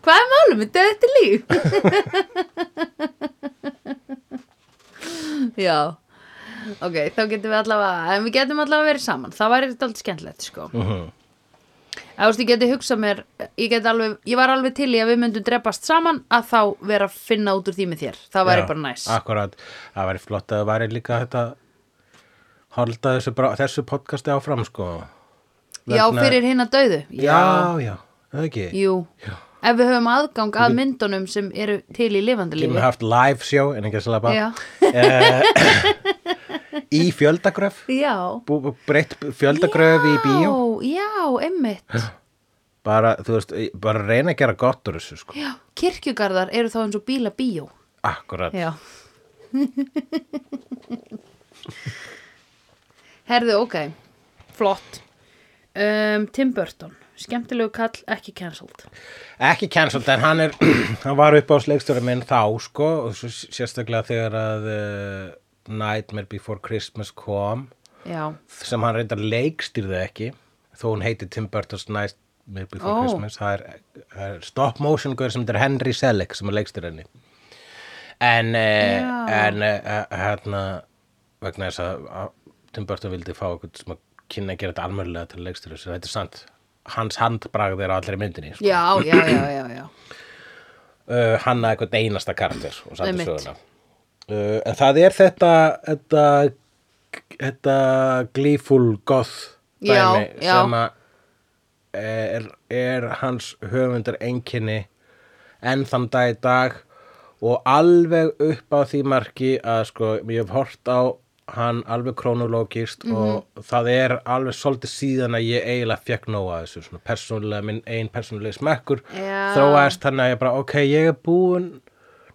S1: Hvað er málum með döð eftir líf? Já, ok, þá getum við allavega, en við getum allavega verið saman, það væri þetta aldrei skemmtilegt, sko. Mm
S2: Uh-huh.
S1: -hmm. Þú veist, ég geti hugsað mér, ég, geti alveg, ég var alveg til í að við myndum drepast saman að þá vera að finna út úr því með þér, það væri
S2: Já, Ah,
S1: bara næs.
S2: Akkurat, það væri flott að það væri líka þetta halda þessu, bara- þessu podcasti áfram sko
S1: Já,
S2: Vegna-
S1: fyrir hinn að döðu.
S2: Já, já, það er ekki
S1: Jú, ef við höfum aðgang að myndunum sem eru til í lifandi
S2: Ég
S1: lífi.
S2: með haft live sjó en ekki að slappa Eh,
S1: Já,
S2: Í fjöldagröf
S1: já.
S2: bú- Breytt fjöldagröf í bíó
S1: Já, já, einmitt.
S2: bara, þú veist, bara reyna að gera gott úr þessu sko
S1: Já, kirkjugarðar eru þá eins og bíla bíó.
S2: Akkurat,
S1: Já. Herðu, ok. Flott. Um, Tim Burton. Skemmtilegu kall, ekki cancelled.
S2: ekki cancelled en hann er, hann var upp á sleikstjóra minn þá sko og svo sérstaklega þegar að uh, Nightmare Before Christmas kom
S1: Já.
S2: sem hann reyndar leikstýrði ekki þó hún heiti Tim Burton's Night Maybe
S1: Ó.
S2: Before Christmas það er, það er stop motion guður sem þetta er Henry Selick sem er leikstýrði henni en, eh,
S1: Já.
S2: en eh, hérna vegna þess að að Tim Burton vildi fá okkur sem að kynna að gera þetta almörlega til leikstýrði sem þetta er sant hans handbragð er á allri myndinni sko.
S1: Já, já, já, já, já.
S2: uh, hanna eitthvað einasta karakter og samt
S1: Einmitt.
S2: í söguna uh, en það er þetta þetta, þetta glíful goth dæmi
S1: Já, já.
S2: sem að er, er hans höfundar einkenni enn þann dag í dag og alveg upp á því marki að sko, ég hef hort á hann alveg krónulógist
S1: Mhm.
S2: og það er alveg svolítið síðan að ég eiginlega fekk nóga þessu svona persónulega, minn ein persónulega smekkur
S1: Já.
S2: þróaðist þannig að ég bara ok, ég er búin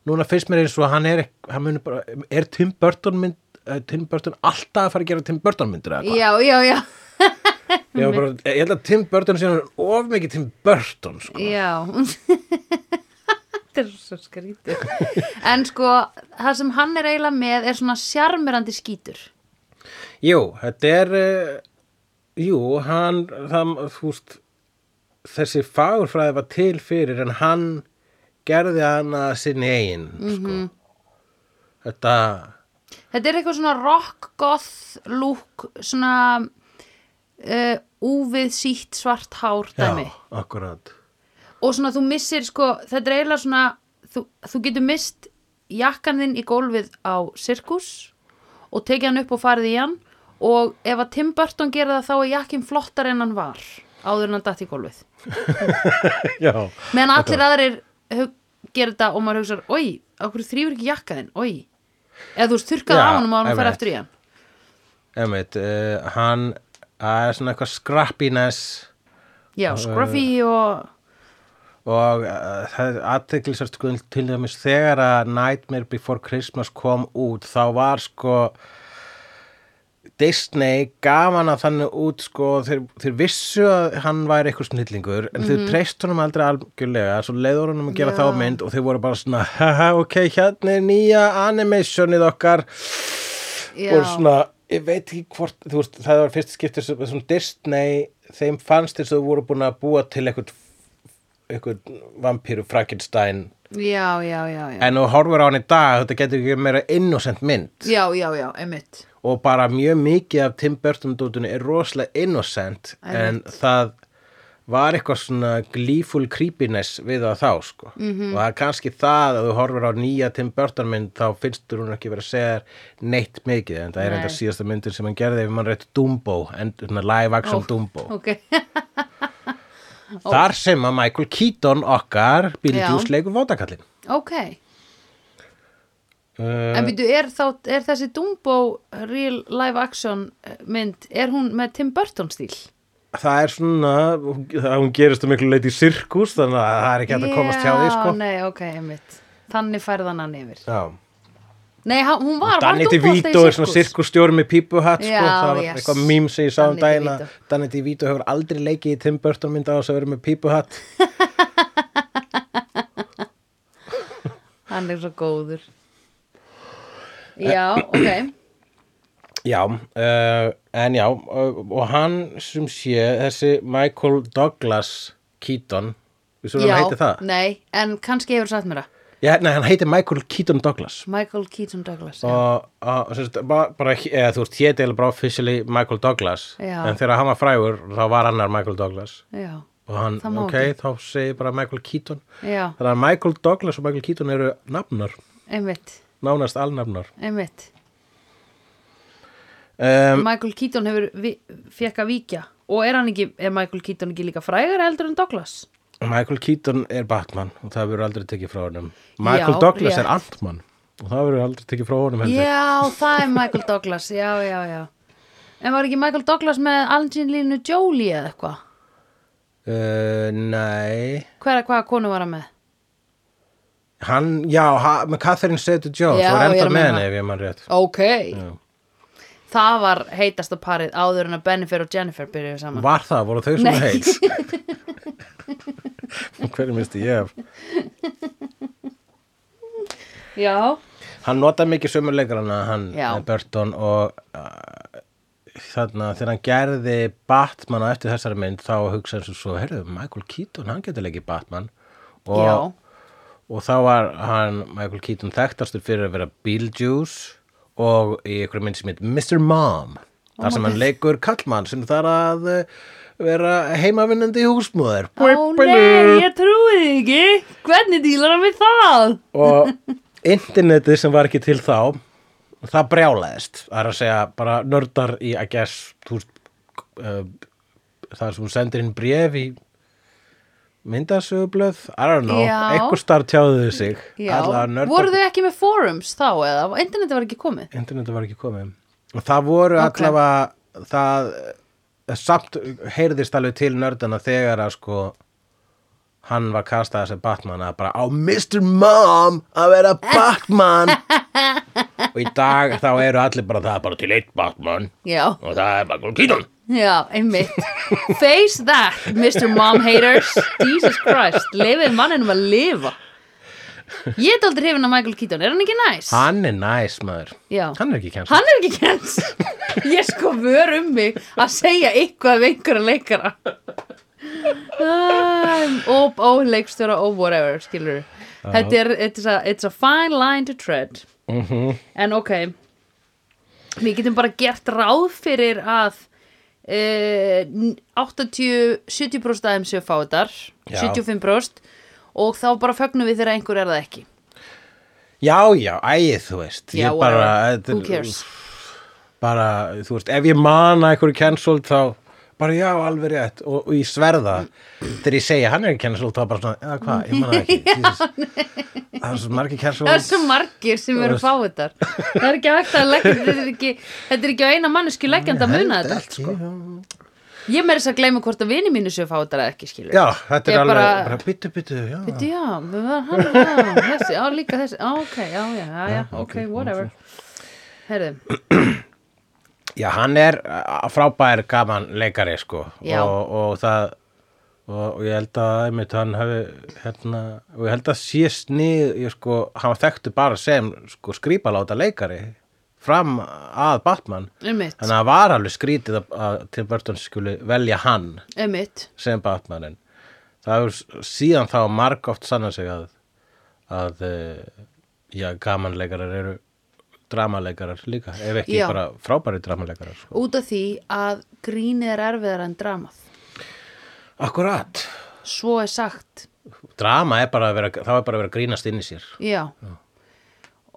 S2: núna finnst mér eins og hann er ekk- hann muni bara, er Tim Burton mynd eh, Tim Burton alltaf að fara að gera Tim Burton myndir eða hvað?
S1: Já, já, já.
S2: Ég, var bara, ég held að Tim Burton sé hann of mikið Tim Burton sko.
S1: Já. Þetta er svo skrítið. En sko, það sem hann er eiginlega með er svona sjarmerandi skítur.
S2: Jú, þetta er uh, Jú, hann það, þú veist þessi fagurfræði var til fyrir en hann gerði hana sinni eigin
S1: Mhm.
S2: sko. Þetta
S1: Þetta er eitthvað svona rock, goth, lúk, svona uh, úfið sítt svart hár dæmi.
S2: Já, akkurat
S1: Og svona þú missir sko, þetta er eiginlega svona, þú, þú getur mist jakkan þinn í gólfið á sirkus og tekið hann upp og farið í hann og ef að Tim Burton gera það þá er jakkinn flottar en hann var áður en hann datt í gólfið.
S2: Já,
S1: Meðan allir aðrir hug- gera þetta og maður hugsar, oi, okkur þrýfur ekki jakkaðinn, oi. Eða þú veist, þurrkaði
S2: Já,
S1: á hann og hann fer
S2: einmitt.
S1: eftir í hann.
S2: emmitt uh, hann það er svona eitthvað scrappiness
S1: Já, scruffy og...
S2: og uh, það er aðteglisast til dæmis þegar að Nightmare Before Christmas kom út þá var sko Disney gaf hann að þannig út sko þeir, þeir vissu að hann væri eitthvað snillingur en þeir treyst honum aldrei algjörlega svo leiður honum að gera
S1: Já.
S2: þá mynd og þeir voru bara svona haha ok hérna er nýja animationið okkar
S1: Já.
S2: og svona, ég veit ekki hvort þú veist, það var fyrst skiptir sem, sem Disney þeim fannst þess að þau voru búin að búa til eitthvað eitthvað vampíru Frankenstein
S1: Já, já, já, já.
S2: en þú horfur á hann í dag þetta getur ekki meira innocent mynd
S1: Já, já, já, einmitt.
S2: og bara mjög mikið af Tim Burton dótunni er rosalega innocent en það var eitthvað svona glíful creepiness við það þá sko
S1: Mhm.
S2: -hmm. og það er kannski það að þú horfir á nýja Tim Burton mynd þá finnst þú hún ekki verið að segja þér neitt mikið en það er
S1: Nei.
S2: enda síðasta myndin sem hann gerði ef mann rétt Dumbo, en, svona live action Dumbo
S1: Ok,
S2: þar sem að Michael Keaton okkar Beetlejuice
S1: Já.
S2: leikur vótakallin
S1: ok.
S2: uh,
S1: En býtu, er, þá, er þessi Dumbo real live action eh, mynd, er hún með Tim Burton stíl?
S2: það er svona það hún gerist um miklu leiti í sirkus þannig að það er ekki hægt að komast hjá því sko
S1: Já, nei, ok, einmitt. Þannig færðan hann yfir.
S2: Já.
S1: Nei, hann- hún var
S2: Danny DeVito er svona sirkustjóri með pípuhatt sko,
S1: Já,
S2: það var
S1: yes.
S2: eitthvað mím sem ég sá um
S1: Danny
S2: daginn að
S1: DeVito.
S2: Danny DeVito hefur aldrei leikið í Tim Burton mynda á þess að vera með pípuhatt
S1: Hann er svo góður
S2: Eh,
S1: Já, ok
S2: Já, uh, en já uh, og hann sem sé þessi Michael Douglas Keaton, við svo hann heiti það
S1: nei, en kannski hefur sagt mér það
S2: Já, nei, hann heiti Michael Keaton Douglas
S1: Michael Keaton Douglas já.
S2: og, og sérst, bara, bara eða, þú veist, héti eða bara officially Michael Douglas
S1: Já.
S2: en þegar hann var frægur þá var annar Michael Douglas
S1: já,
S2: og hann,
S1: Það má
S2: ok,
S1: ekki.
S2: þá segi bara Michael Keaton
S1: já,
S2: þannig að Michael Douglas og Michael Keaton eru nafnar,
S1: einmitt,
S2: nánast alnafnar
S1: einmitt
S2: um,
S1: Michael Keaton hefur vi, fekk að víkja og er hann ekki, er Michael Keaton ekki líka frægur heldur en Douglas?
S2: Michael Keaton er Batman og það verður aldrei tekið frá honum Michael
S1: Já,
S2: Douglas er
S1: rétt.
S2: Ant-Man og það verður aldrei tekið frá honum heldur
S1: Já, það er Michael Douglas, já, já, já En var ekki Michael Douglas með Angelina Jolie eða eitthvað?
S2: uh, nei
S1: Hver, hvaða konu var hann með?
S2: hann, já, ha, með Catherine Zeta-Jones
S1: Já,
S2: og
S1: ég er
S2: enda
S1: að
S2: með
S1: meina.
S2: henni ef ég mann rétt
S1: Ok
S2: Já.
S1: Það var heitasta parið áður en að Bennifer og Jennifer byrjuðu saman
S2: var það, voru þau svona
S1: Nei.
S2: heit hverju misti ég af
S1: Já,
S2: hann notaði mikið sömu leikrana hann
S1: Já.
S2: eh, Burton og uh, þarna þegar hann gerði Batman á eftir þessari mynd þá hugsaði hann svo, heyrðu, Michael Keaton hann getur leikið Batman og, og þá var hann Michael Keaton þekktastur fyrir að vera Beetlejuice og í einhverju mynd sem heit Mr. Mom þar sem hann leikur kallmann sem þar að eh, vera heimavinnandi húsmóður
S1: Ó nei, ég trúi þig ekki Hvernig dílar hann við það?
S2: og internetið sem var ekki til þá það brjálaðist það er að segja bara nördar í I guess þú, uh, það sem hún sendir inn bref í myndasögublöð I don't know,
S1: Já.
S2: einhver starf tjáðu þau sig
S1: Já,
S2: allavega nördar
S1: voru þau ekki með forums þá eða? Interneti var ekki komið
S2: internetið var ekki komið og það voru
S1: Ok.
S2: allavega það eh, samt heyrðist alveg til nördana þegar að sko hann var kastaði sem Batman að bara á Mr. Mom að vera Batman og í dag þá eru allir bara það er bara til eitt Batman
S1: Já,
S2: og það er Michael Keaton
S1: já, einmitt Face that, Mr. Mom Haters Jesus Christ, lifið manninum að lifa Ég er aldrei hrifin af Michael Keaton, er hann ekki næs?
S2: hann er næs maður
S1: Já.
S2: hann er ekki kjens
S1: Hann er ekki kens Ég sko vör um mig að segja eitthvað af einhverja leikara um, og, og leikstjóra og whatever, skilur Þetta er, it's a, it's a fine line to tread
S2: Mhm.
S1: En ok Við getum bara gert ráð fyrir að uh, 80-70% aðeim séu fáðar
S2: Já.
S1: 75% og þá bara fögnum við þegar einhver er það ekki
S2: já já, ægið þú veist
S1: Já,
S2: Ég eh,
S1: whatever,
S2: þetta er-
S1: who cares
S2: bara, þú veist, ef ég man að einhverju cancelled þá bara já, alveg rétt og, og ég sverða þegar ég segja hann er ekki cancelled þá bara svona, eða hvað, ég man það ekki Jesus. það er svo margir
S1: Það er
S2: cancelled
S1: svo margir sem eru fáiðar Það er ekki hægt að leggja Þetta er ekki, þetta er ekki á eina mannesku leggjandi að muna þetta allt, sko. Ég meiri þess að gleyma hvort að vini mínu séu fáiðar eða ekki skilur
S2: já, þetta
S1: Ég
S2: er alveg,
S1: bara-
S2: bara byttu, byttu já,
S1: Bíddu, Já, við var- hann já, þessi, á líka þessi, á ok, já, já, já, já, ok, whatever Herðu,
S2: já, hann er uh, frábær gaman leikari, sko
S1: Já.
S2: og, og það og, og ég held að einmitt hann hafi hérna, og ég held að sé snið ég sko, hann var þekktu bara sem sko skrýpaláta leikari fram að Batman
S1: ummitt,
S2: Þannig að það var alveg skrítið að, að Tim Burton skuli velja hann
S1: ummitt
S2: sem Batmanin. Það hefur síðan þá marg oft sanna sig að, að eh, já, gamanleikarar eru dramaleikarar líka, ef ekki
S1: Já.
S2: bara frábæri dramaleikarar. Sko.
S1: Út af því að grínið er erfiðar en dramað
S2: Akkurat.
S1: Svo er sagt,
S2: Drama er bara að vera, þá er bara að vera að grínast inn í sér.
S1: já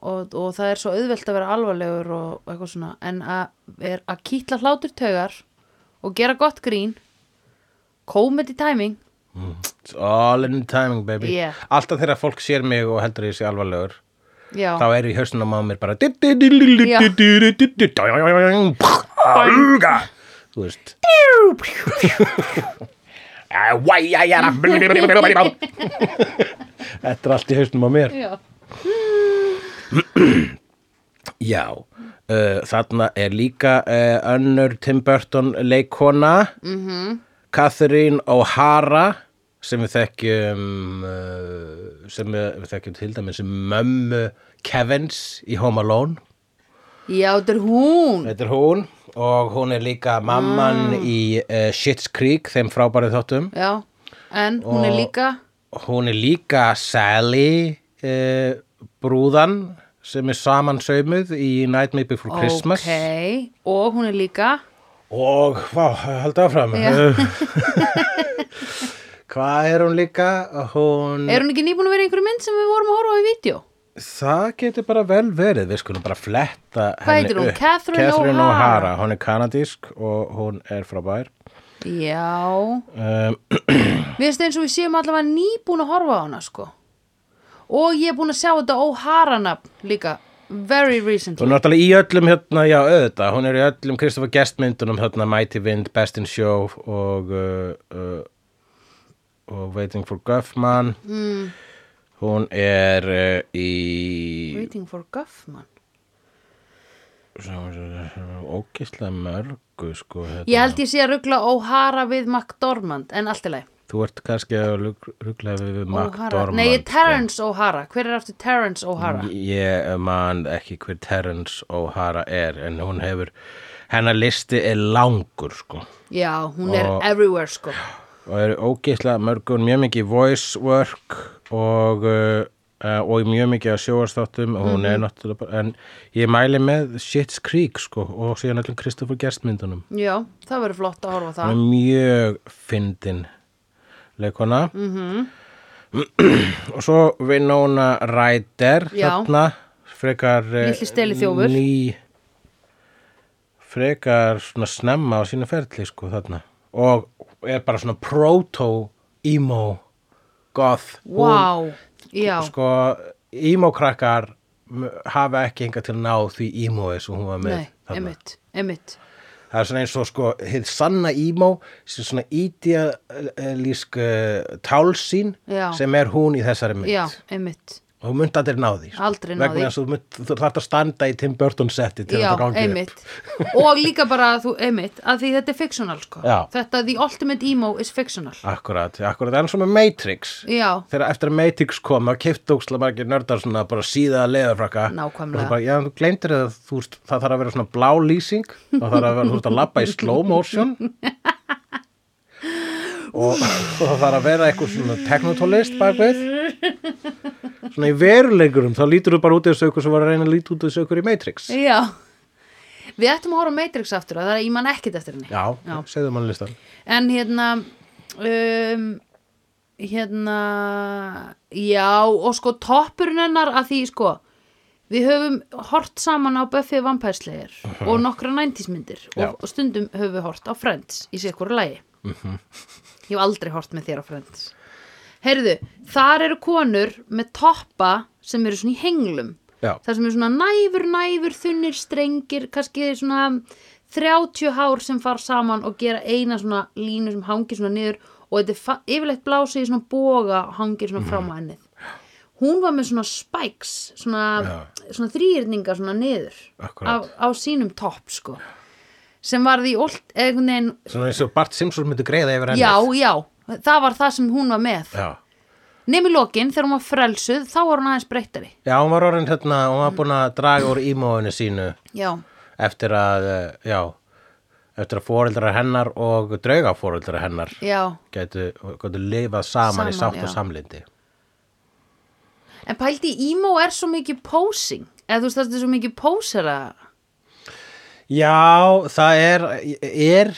S1: Og, og það er svo auðvelt að vera alvarlegur og eitthvað svona en að er að kýtla hlátur taugar og gera gott grín komedi timing
S2: It's all in the timing, baby.
S1: Yeah.
S2: Alltaf þegar fólk sér mig og heldur að ég sé alvarlegur,
S1: já,
S2: þá er í hausnum á mér bara þú veist þetta er allt í hausnum á mér
S1: já.
S2: Já, uh, þarna er líka uh, önnur Tim Burton leikona, mm -hmm. Catherine O'Hara, sem við þekkjum, uh, sem við, við þekkjum til dæmis sem mömmu Kevins í Home Alone.
S1: Já, þetta er hún.
S2: Þetta er hún og hún er líka
S1: Ah.
S2: mamman í uh, Schitt's Creek, þeim frábærið þóttum.
S1: Já, en hún er
S2: Og-
S1: líka,
S2: Hún er líka Sally uh, brúðan sem er samansauðmuð í Nightmare Before Christmas.
S1: ok, og hún er líka,
S2: Og, vá, haldið áfram.
S1: Já.
S2: Uh, Hvað er hún líka? Hún,
S1: er hún ekki nýbúin að vera í einhverju mynd sem við vorum að horfa á í vídeo?
S2: það getur bara vel verið, við skulum bara fletta
S1: Hvað heitir hún? Catherine O'Hara.
S2: O'Hara. Hún er kanadísk og hún er frá bær.
S1: Já,
S2: Um,
S1: við veist eins og við séum allavega nýbúin að horfa á hana, sko. Og ég er búin að sjá þetta óharanafn líka, very
S2: og
S1: recently.
S2: náttúrulega í öllum hérna, já, auðvitað, hún er í öllum Kristoffer Guest myndunum hérna Mighty Wind, Best in Show og, uh, uh, og Waiting for Guffman.
S1: Mm,
S2: Hún er uh, í...
S1: waiting for Guffman.
S2: ógislega mörgu sko hérna.
S1: Ég held ég sé að ruggla O'Hara við McDormand, en allt í lagi.
S2: þú ert kannski að ruggla við
S1: O'Hara.
S2: McDormand
S1: Nei, ég er Terrence O'Hara. Hver er aftur Terrence O'Hara?
S2: sko. ég man ekki hver Terrence O'Hara er en hún hefur hennar listi er langur sko
S1: Já, hún er
S2: Og-
S1: everywhere, sko.
S2: og er ógislega mörgun mjög mikið í voice work og uh, uh, og í mjög mikið að sjóastáttum og hún er náttúrulega bara, en ég mæli með Shit's Creek sko og síðan öllum Kristoffer Guest myndunum
S1: Já, það verður flott að horfa á
S2: Hún
S1: það.
S2: er mjög fyndin leikona.
S1: Mhm.
S2: og svo Winona Ryder
S1: Já.
S2: þarna, frekar eh,
S1: Litli steliþjófur.
S2: Ný, frekar svona snemma á sínu ferli sko þarna. Og er bara svona proto-emo goth. Hún-
S1: Vá, já,
S2: Sko, emo-krakkar m- hafa ekki hingað til að ná því emo-i sem hún var með
S1: nei, emitt, emitt.
S2: Það er svona eins og sko, hið sanna ímó sem svona ídialísk uh, tálsín
S1: Já.
S2: sem er hún í þessari mynd.
S1: Já, emitt.
S2: Og hún myndi aldrei ná því.
S1: Aldrei ná því.
S2: sko. Vegna þess að þú mynd- þú þarf að standa í Tim Burton setti til
S1: Já,
S2: að það gangi
S1: emitt.
S2: upp.
S1: Og líka bara, að þú, emitt, að því þetta er fictional, sko.
S2: Já.
S1: Þetta, the ultimate emo is fictional.
S2: Akkurat, akkurat, en svona Matrix.
S1: Já,
S2: Þegar eftir að Matrix kom, þá kiptu ókslega margir nördar svona bara síða að leðafrakka.
S1: Nákvæmlega.
S2: Og þú bara, já, þú gleymdir að þú, veist, það þarf að vera svona blá lýsing og það þarf að vera, þú veist að labba í slow motion. og, og það þarf að vera eitthvað svona teknotólist bakvið. Svona í veruleikurum, þá lítur þú bara út í þessu aukur sem var að reyna að líta út í þessu aukur í Matrix.
S1: já. Við ættum að horfa á Matrix aftur og það er, ég man ekkit eftir henni.
S2: Já,
S1: Já.
S2: segðu mann listan.
S1: En hérna um, hérna já og sko toppurinn hennar að því sko við höfum hort saman á Buffy vampærslegar og nokkra 90s myndir
S2: Já.
S1: og, og stundum höfum við hort á Friends í sér hverju lagi ég hef aldrei hort með þér á Friends heyrðu, þar eru konur með toppa sem eru svona í henglum
S2: Já,
S1: þar sem eru svona næfur, næfur, þunnir, strengir, kannski svona 30 hár sem far saman og gera eina svona línu sem hangir svona niður og þetta er fa- yfirleitt blásið í svona boga og hangir svona fram á ennið. Hún var með svona spikes, svona, svona þrýrninga svona niður á,
S2: Akkúrat.
S1: á sínum topp sko sem var því olt, eða einhvern veginn,
S2: svona eins og Bart Simpson myndi greiða yfir
S1: já,
S2: ennið.
S1: já, það var það sem hún var með.
S2: Já.
S1: Nefn í lokin, þegar hún var frelsuð, þá var hún aðeins breyttari.
S2: Já, hún var orðin hérna, hún var búin að draga úr ímóinu sínu
S1: Já,
S2: eftir að, eh, já, eftir að fóreldrar hennar og drauga fóreldrar hennar
S1: já.
S2: gætu, gætu lifað saman, í
S1: Saman,
S2: sátt og
S1: já.
S2: samlindi.
S1: En pældi, emo er svo mikið posing eða þú veist það er svo mikið posera
S2: Já, það er, er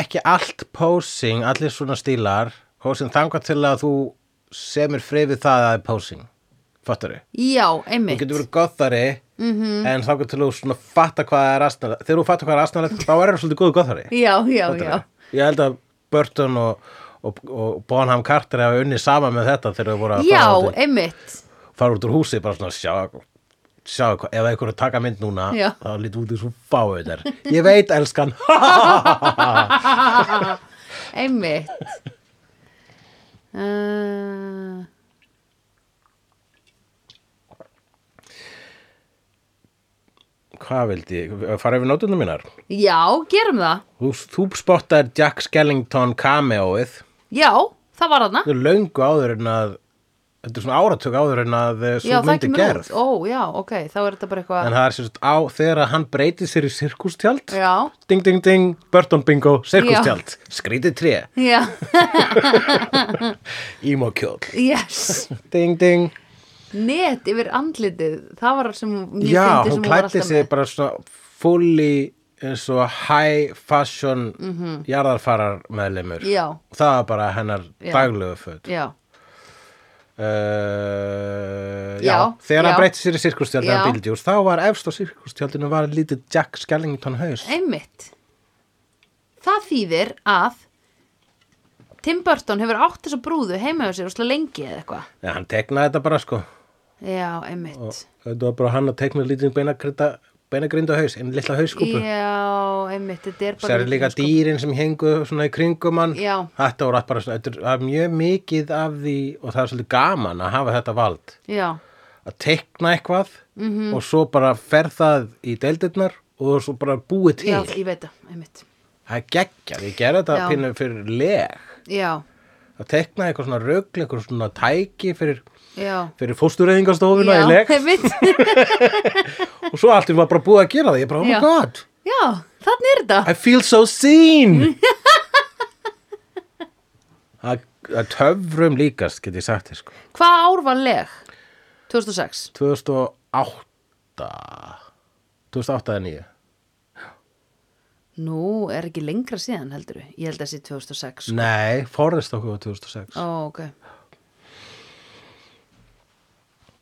S2: ekki allt posing, allir svona stílar, posing þangar til að þú semir frið við það að það er posing, fattar þau?
S1: Já,
S2: Þú
S1: einmitt
S2: getur verið gothari en þá getur þú svona fatta hvað það er astanlega. Þegar þú fatta hvað það er astanlega, þá er það svolítið góðu gothari.
S1: Já, já, já
S2: Fattarðu? Ég held að Burton og, og, og Bonham Carter hafa unnið sama með þetta þegar þau voru að
S1: Já, e-
S2: fara, út,
S1: einmitt
S2: fara út úr húsi bara svona sjá, sjá hvað, ef einhver er að taka mynd núna
S1: Já.
S2: þá lítið út í svo fáið þær ég veit elskan
S1: Einmitt uh,
S2: hvað vildi ég, fara yfir nótunum mínar
S1: Já, gerum það.
S2: þú, þú spottar Jack Skellington cameoið
S1: Já, það var þarna.
S2: þetta er löngu áður en að þetta er svona áratug áður en að eh,
S1: Já,
S2: svo
S1: það
S2: myndi gerð
S1: út. Ó, já, ok, þá er þetta bara
S2: en
S1: eitthvað.
S2: það er sem sagt á þegar að hann breytir sér í sirkustjald
S1: Já,
S2: ding ding ding, Burton bingo, sirkustjald skrítið tré,
S1: já,
S2: ímókjóll
S1: yes.
S2: ding ding
S1: Net yfir andlitið, það var sem mjög
S2: Já,
S1: fyndið
S2: hún
S1: sem var
S2: klætti
S1: alltaf
S2: sig
S1: með.
S2: bara svona fully eins og high fashion jarðarfarar meðlimur
S1: Mhm. Já.
S2: það var bara hennar
S1: Já.
S2: daglegu föt
S1: Já,
S2: uh, já,
S1: Já,
S2: þegar hann
S1: já.
S2: breytti sér í sirkustjaldin
S1: Já.
S2: að Bildjús, þá var efst á sirkustjaldinu var lítið Jack Skellington haus
S1: einmitt. Það þýðir að Tim Burton hefur átt þessa brúðu heima hjá sér og slá lengi eða eitthvað.
S2: ja, hann teknaði þetta bara sko
S1: Já, einmitt.
S2: og þetta var bara hann að tekna lítið beinagrinda, beinagrinda haus, einn litla hauskúpu
S1: Já, einmitt, þetta er bara sko.
S2: Sér líka dýrin sem hengu svona í kringum hann
S1: Já.
S2: Þetta voru allt bara svona, þetta er- það er mjög mikið af því og það er svolítið gaman að hafa þetta vald
S1: Já,
S2: að tekna eitthvað
S1: Mhm.
S2: -hmm. og svo bara fer það í deildirnar og svo bara búið til
S1: já, ég veit það, einmitt
S2: Það er geggjað, ég gerði þetta
S1: Já.
S2: pínu fyrir leg
S1: Já,
S2: að tekna eitthvað svona rögl, eitthvað svona tæki fyrir,
S1: já
S2: fyrir fóstureyðingastofuna í
S1: Já,
S2: leg
S1: einmitt
S2: og svo allt er maður bara búið að gera það, ég bara, oh my
S1: Já.
S2: god
S1: Já, þannig er þetta
S2: I feel so seen Það það töfrum líkast get ég sagt þér sko
S1: Hvað ár var leg? 2006
S2: 2008 2008 eða 9
S1: Nú, er ekki lengra síðan heldur Ég held að sé 2006
S2: Nei, Forrest okkur var 2006
S1: Ó, ok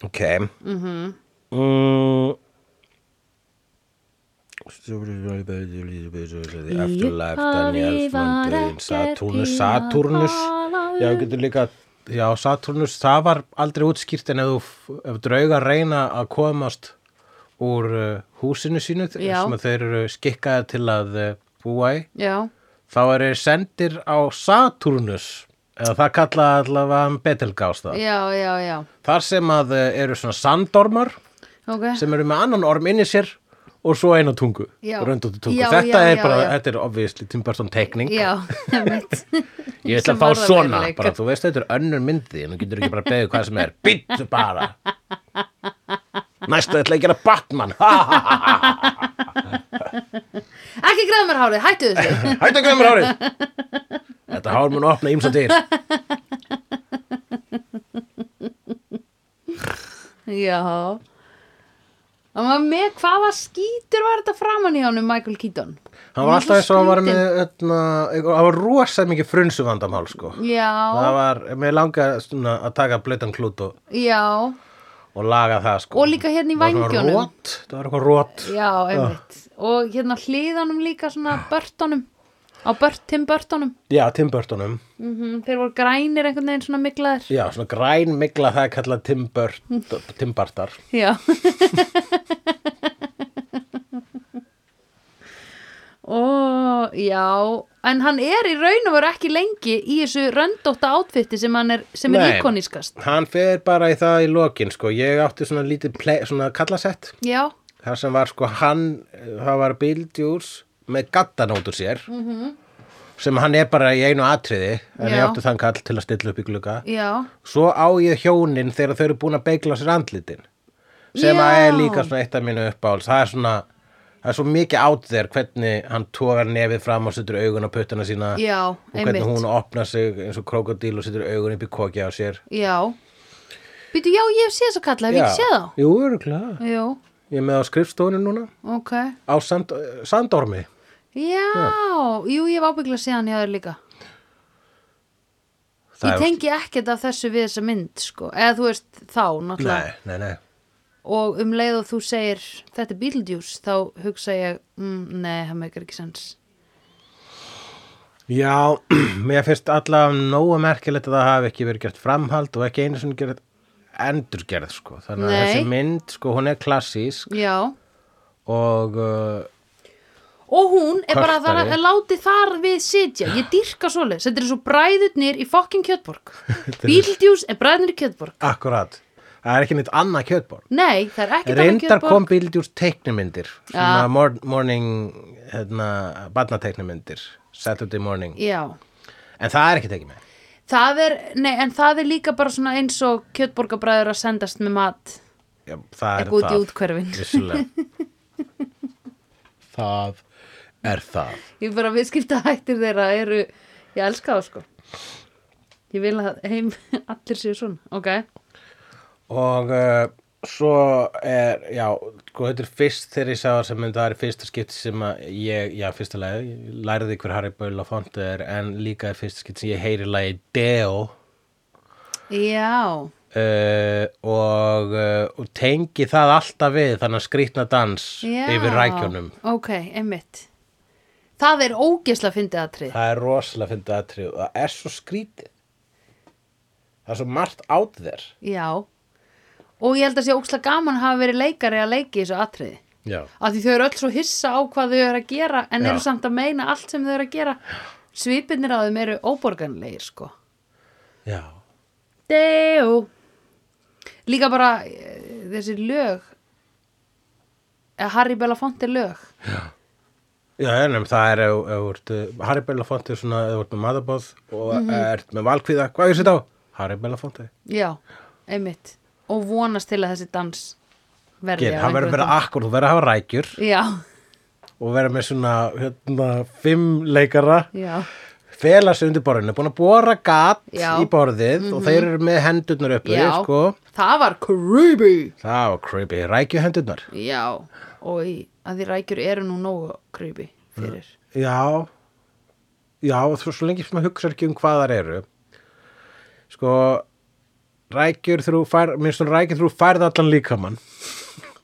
S2: Ok mm
S1: Mm-hmm.
S2: -hmm. mm. Afterlife, Daniel Vandurinn, Saturnus Saturnus, já, við getum líka já, Saturnus, það var aldrei útskýrt en ef, þú f- ef draugar reyna að komast úr uh, húsinu sínu,
S1: Já.
S2: sem að þeir eru skikkaði til að uh, búa í
S1: Já,
S2: þá eru þeir sendir á Saturnus eða það kalla allavega Betelgás það
S1: já, já, já
S2: þar sem að eh, eru svona sandormar
S1: Ok,
S2: sem eru með annan orm inni sér og svo eina tungu,
S1: Já.
S2: röndóttu tungu
S1: Já,
S2: þetta
S1: já,
S2: er
S1: já,
S2: bara,
S1: já.
S2: þetta er obviously Timberton teikning,
S1: já, einmitt
S2: ég ætla
S1: Sem
S2: að fá
S1: varðar
S2: svona
S1: veruleika.
S2: bara, þú veist þetta er önnur myndi en þú getur ekki bara að beðið hvað sem er, byttu bara næsta ætla ég að gera Batman Ha, ha, ha.
S1: Ekki græða mér hárið, hættu þessu
S2: hættu að glemur hárið þetta hár mun opna ímsa til
S1: Já Það var með, hvaða skítur var þetta framan í honum Michael Keaton?
S2: hann var alltaf eins og hann var
S1: skrýtinn.
S2: með öðna, hann var rosa mikið frunsu vandamál sko.
S1: Já,
S2: það var, mér langaði svona að taka blötan klút og,
S1: já
S2: og laga það sko.
S1: Og líka hérna í
S2: Það var svona
S1: vængjunum.
S2: rot, það var eitthvað rót
S1: Já, einmitt Og hérna á hliðanum líka svona börtunum Á bört, Tim Burtonum
S2: já, Tim Burtonum,
S1: mm Þeir voru grænir einhvern veginn svona miklaðir
S2: já, svona græn mikla það er kallað Tim Burt, Tim Bartar
S1: Já Ó, já En hann er í raun og veru ekki lengi í þessu röndótta átfitti sem, hann er, sem er
S2: Nei.
S1: íkonískast
S2: hann fer bara í það í lokin sko. ég átti svona lítið play, svona kallasett
S1: Já,
S2: þar sem var sko hann það var Bildjús með gaddan út úr sér -hmm. sem hann er bara í einu atriði en
S1: Mhm.
S2: ég
S1: Já.
S2: átti þann kall til að stilla upp í glugga
S1: já,
S2: svo á ég hjónin þegar þau eru búin að beigla sér andlitin sem
S1: Já.
S2: að er líka svona eitt af mínu uppáhalds það er svona, það er svo mikið átt þér hvernig hann tógar nefið fram og setur augun á puttana sína
S1: já,
S2: og hvernig
S1: einmitt
S2: hún opnar sig eins og krokodíl og setur augun upp í kokja á sér
S1: Já Býtu, já, ég hef séð þess að kalla, hef ég ekki séð þá?
S2: Jú, örgulega
S1: Jú,
S2: Ég er með á skrifstofunum núna
S1: ok
S2: á sand, eh, sandormi
S1: Já, jú, ég hef ábyggla séðan hjá þér líka
S2: Það
S1: Ég
S2: er-
S1: tengi ekkert af þessu við þessa mynd, sko Eða þú veist, þá, náttúrulega
S2: Nei, nei, nei
S1: Og um leið og þú segir, þetta er Beetlejuice Þá hugsa ég, mm, nei, það meikar ekki sens
S2: Já, mér finnst allavega nógu merkilegt að það hafi ekki verið gert framhald og ekki einu svona gerð endurgerð sko. Þannig að
S1: Nei.
S2: þessi mynd, sko, hún er klassísk
S1: Já
S2: og uh,
S1: Og hún er bara þar
S2: Kvartari.
S1: að láti þar við sitja Ég dyrka svoleið, þetta er svo bræðutnir í fokkin Kjötborg Beetlejuice er bræðutnir í Kjötborg
S2: akkurat, það er ekki neitt annað kjötborn
S1: Nei, það er ekkert annað
S2: Reyndar
S1: kjötborg.
S2: kom Bildjúrs teiknumyndir svona
S1: Ja.
S2: mor morning hérna, barnateiknumyndir Saturday morning
S1: Já,
S2: en það er ekki tekið með
S1: það er, nei, en það er líka bara svona eins og kjötborgabræður að sendast með mat
S2: Já, það er
S1: Ekki út í
S2: það,
S1: úthverfin.
S2: vissulega. það er það
S1: Ég bara viðskipta hættir þeirra eru, ég elska það sko. Ég vil að heim allir séu svona, ok?
S2: og uh, svo er já, sko þetta er fyrst þegar ég sá þessa mynd, það er í fyrsta skipti sem að ég, já, fyrsta lagi, ég læriði hver Harry Böll og Fontu er, en líka í fyrsta skipti sem ég heyri lagi Deo
S1: Já,
S2: uh, og, uh, og tengi það alltaf við þannig að skrýtna dans
S1: já.
S2: yfir rækjunum
S1: Ok, einmitt. Það er ógesla fyndið aðtrið.
S2: það er rosalega fyndið aðtrið og það er svo skrýtið það er svo margt out there
S1: Já. Og ég held að sé óksla gaman hafa verið leikari að leiki í þessu atriði.
S2: já,
S1: Af því þau eru öll svo hissa á hvað þau eru að gera en
S2: Já.
S1: eru samt að meina allt sem þau eru að gera. Svipinir á þeim eru óborganlegir sko.
S2: já.
S1: Dejú. Líka bara eh, þessi lög. Eða Harry Belafonte lög.
S2: Já, ennum, það er ef ef þú ert uh, Harry Belafonte er svona, ef þú ert með matabóð og
S1: Mhm.
S2: ert með valkvíða, hvað er þetta á? Harry Belafonte,
S1: Já, einmitt. Og vonast til að þessi dans verði.
S2: Gerið,
S1: á
S2: hann verður
S1: einhverjum
S2: að vera akkur, þú verður að hafa rækjur
S1: tíma. Já,
S2: og verður með svona, hérna, fimm leikara
S1: já,
S2: fela sig undir borðinu, búin að bóra gat
S1: Já. Mhm.
S2: í borðið og þeir eru með hendurnar uppi,
S1: já.
S2: sko.
S1: Það var creepy.
S2: Það var creepy, rækju hendurnar.
S1: Já, og í, að því rækjur eru nú nógu creepy fyrir.
S2: Já, já, þú svo lengi sem maður hugsa ekki um hvað þar eru. Sko, rækjur þrú fær, mér finnst svona rækjur þrú færð allan líkamann.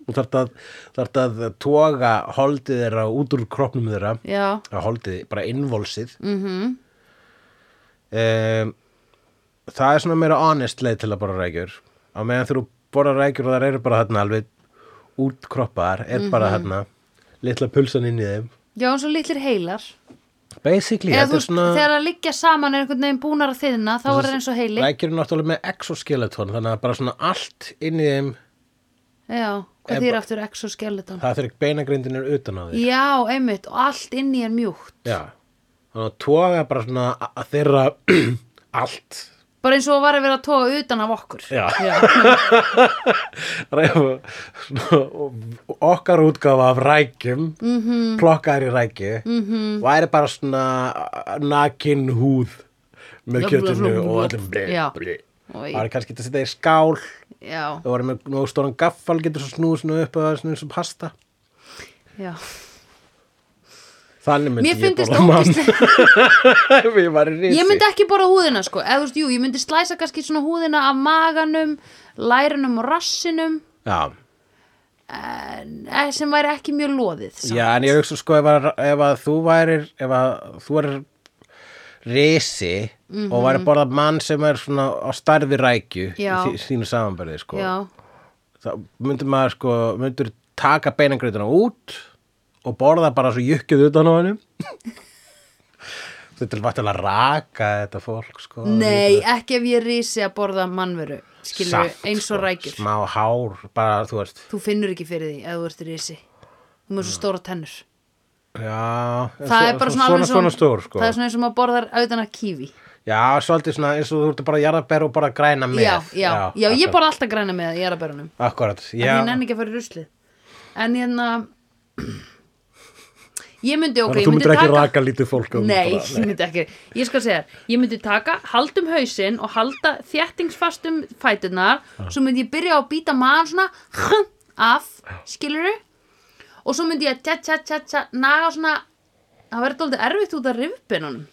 S2: Þú þarft að, þarft að toga holdið þeirra út úr kroppnum þeirra,
S1: Já,
S2: að holdið, bara innvolsið.
S1: mhm,
S2: um, það er svona meira honest leið til að borra rækjur á meðan þú borra rækjur og það eru bara þarna alveg útkroppaðar er
S1: Mhm.
S2: bara þarna litla pulsan inn í þeim
S1: já, eins og litlir heilar.
S2: basically,
S1: Eða
S2: þetta
S1: þú
S2: er
S1: veist,
S2: svona
S1: þegar að liggja saman er einhvern veginn búnar að þiðna, þá er það eins og heili.
S2: rækjur er náttúrulega með exoskeleton þannig að bara svona allt inn í þeim
S1: Já,
S2: Ef-
S1: hvað þýr aftur exoskeleton?
S2: það þegar beinagrindin er utan á því
S1: Já, einmitt, og allt inn í er mjúkt.
S2: já, þannig að toga bara svona a- að þeirra allt
S1: Bara eins og var að vera að toga utan af okkur.
S2: já,
S1: Já,
S2: Ræfa, svona, okkar útgáfa af rækjum mm
S1: Mhm.
S2: -hmm. plokkaðar í rækju mm -hmm. væri bara svona nakin húð
S1: Blub,
S2: með
S1: blub,
S2: kjötinu
S1: blub, blub,
S2: og allir
S1: já.
S2: blei
S1: Oi.
S2: það er kannski þetta að setja í skál
S1: já,
S2: það var með nóg stóran gaffal getur svo snúð svona upp að það er svona eins og pasta
S1: já.
S2: þannig myndi
S1: Mér
S2: ég
S1: finnst
S2: borða mann
S1: ógislega,
S2: ef ég var í risi
S1: ég myndi ekki bara húðina sko, eða þú veist, jú, ég myndi slæsa kannski svona húðina af maganum, lærunum og rassinum,
S2: já.
S1: eh, sem væri ekki mjög loðið. samt.
S2: já, en ég hugsa sko ef að, ef að þú værir ef að þú værir risi og væri borða mann sem er svona á starfi rækju
S1: Mhm. Já.
S2: í sínu samanbærið sko
S1: Já,
S2: þá myndur maður sko myndur taka beinangreitina út og borða bara svo jukkið utan á hennu þetta er vatnilega raka þetta fólk sko
S1: nei, ekki ef ég risi að borða mannveru, skilur
S2: Samt,
S1: eins og
S2: sko,
S1: rækjur.
S2: smá hár, bara þú veist
S1: Þú finnur ekki fyrir því ef þú ert risi. Þú með svo stóra tennur.
S2: já,
S1: Það er bara svona, alveg
S2: svona, svona stór sko
S1: Það er svona eins og maður borðar auðvitað af kífi.
S2: já, svolítið svona eins og þú ert bara jarðabær og bara græna með
S1: Já, já, já, ég
S2: akkurat.
S1: borða alltaf græna með jarðabærunum.
S2: Akkurat,
S1: En
S2: já
S1: ég nenni ekki að fara í ruslið. En hérna, ég myndi ok,
S2: Þannig að
S1: ég
S2: þú
S1: myndi
S2: myndir ekki
S1: taka...
S2: raka lítið fólk um
S1: Nei,
S2: bara,
S1: ég myndi ekki, ég skal segja þér Ég myndi taka, haldum hausinn og halda þéttingsfastum fætunar Svo myndi ég byrja á að býta maðan svona hm, af, skilurðu Og svo myndi ég tja, tja, tja, tja, naga svona Það verður dálítið erfitt út af rifbeinunum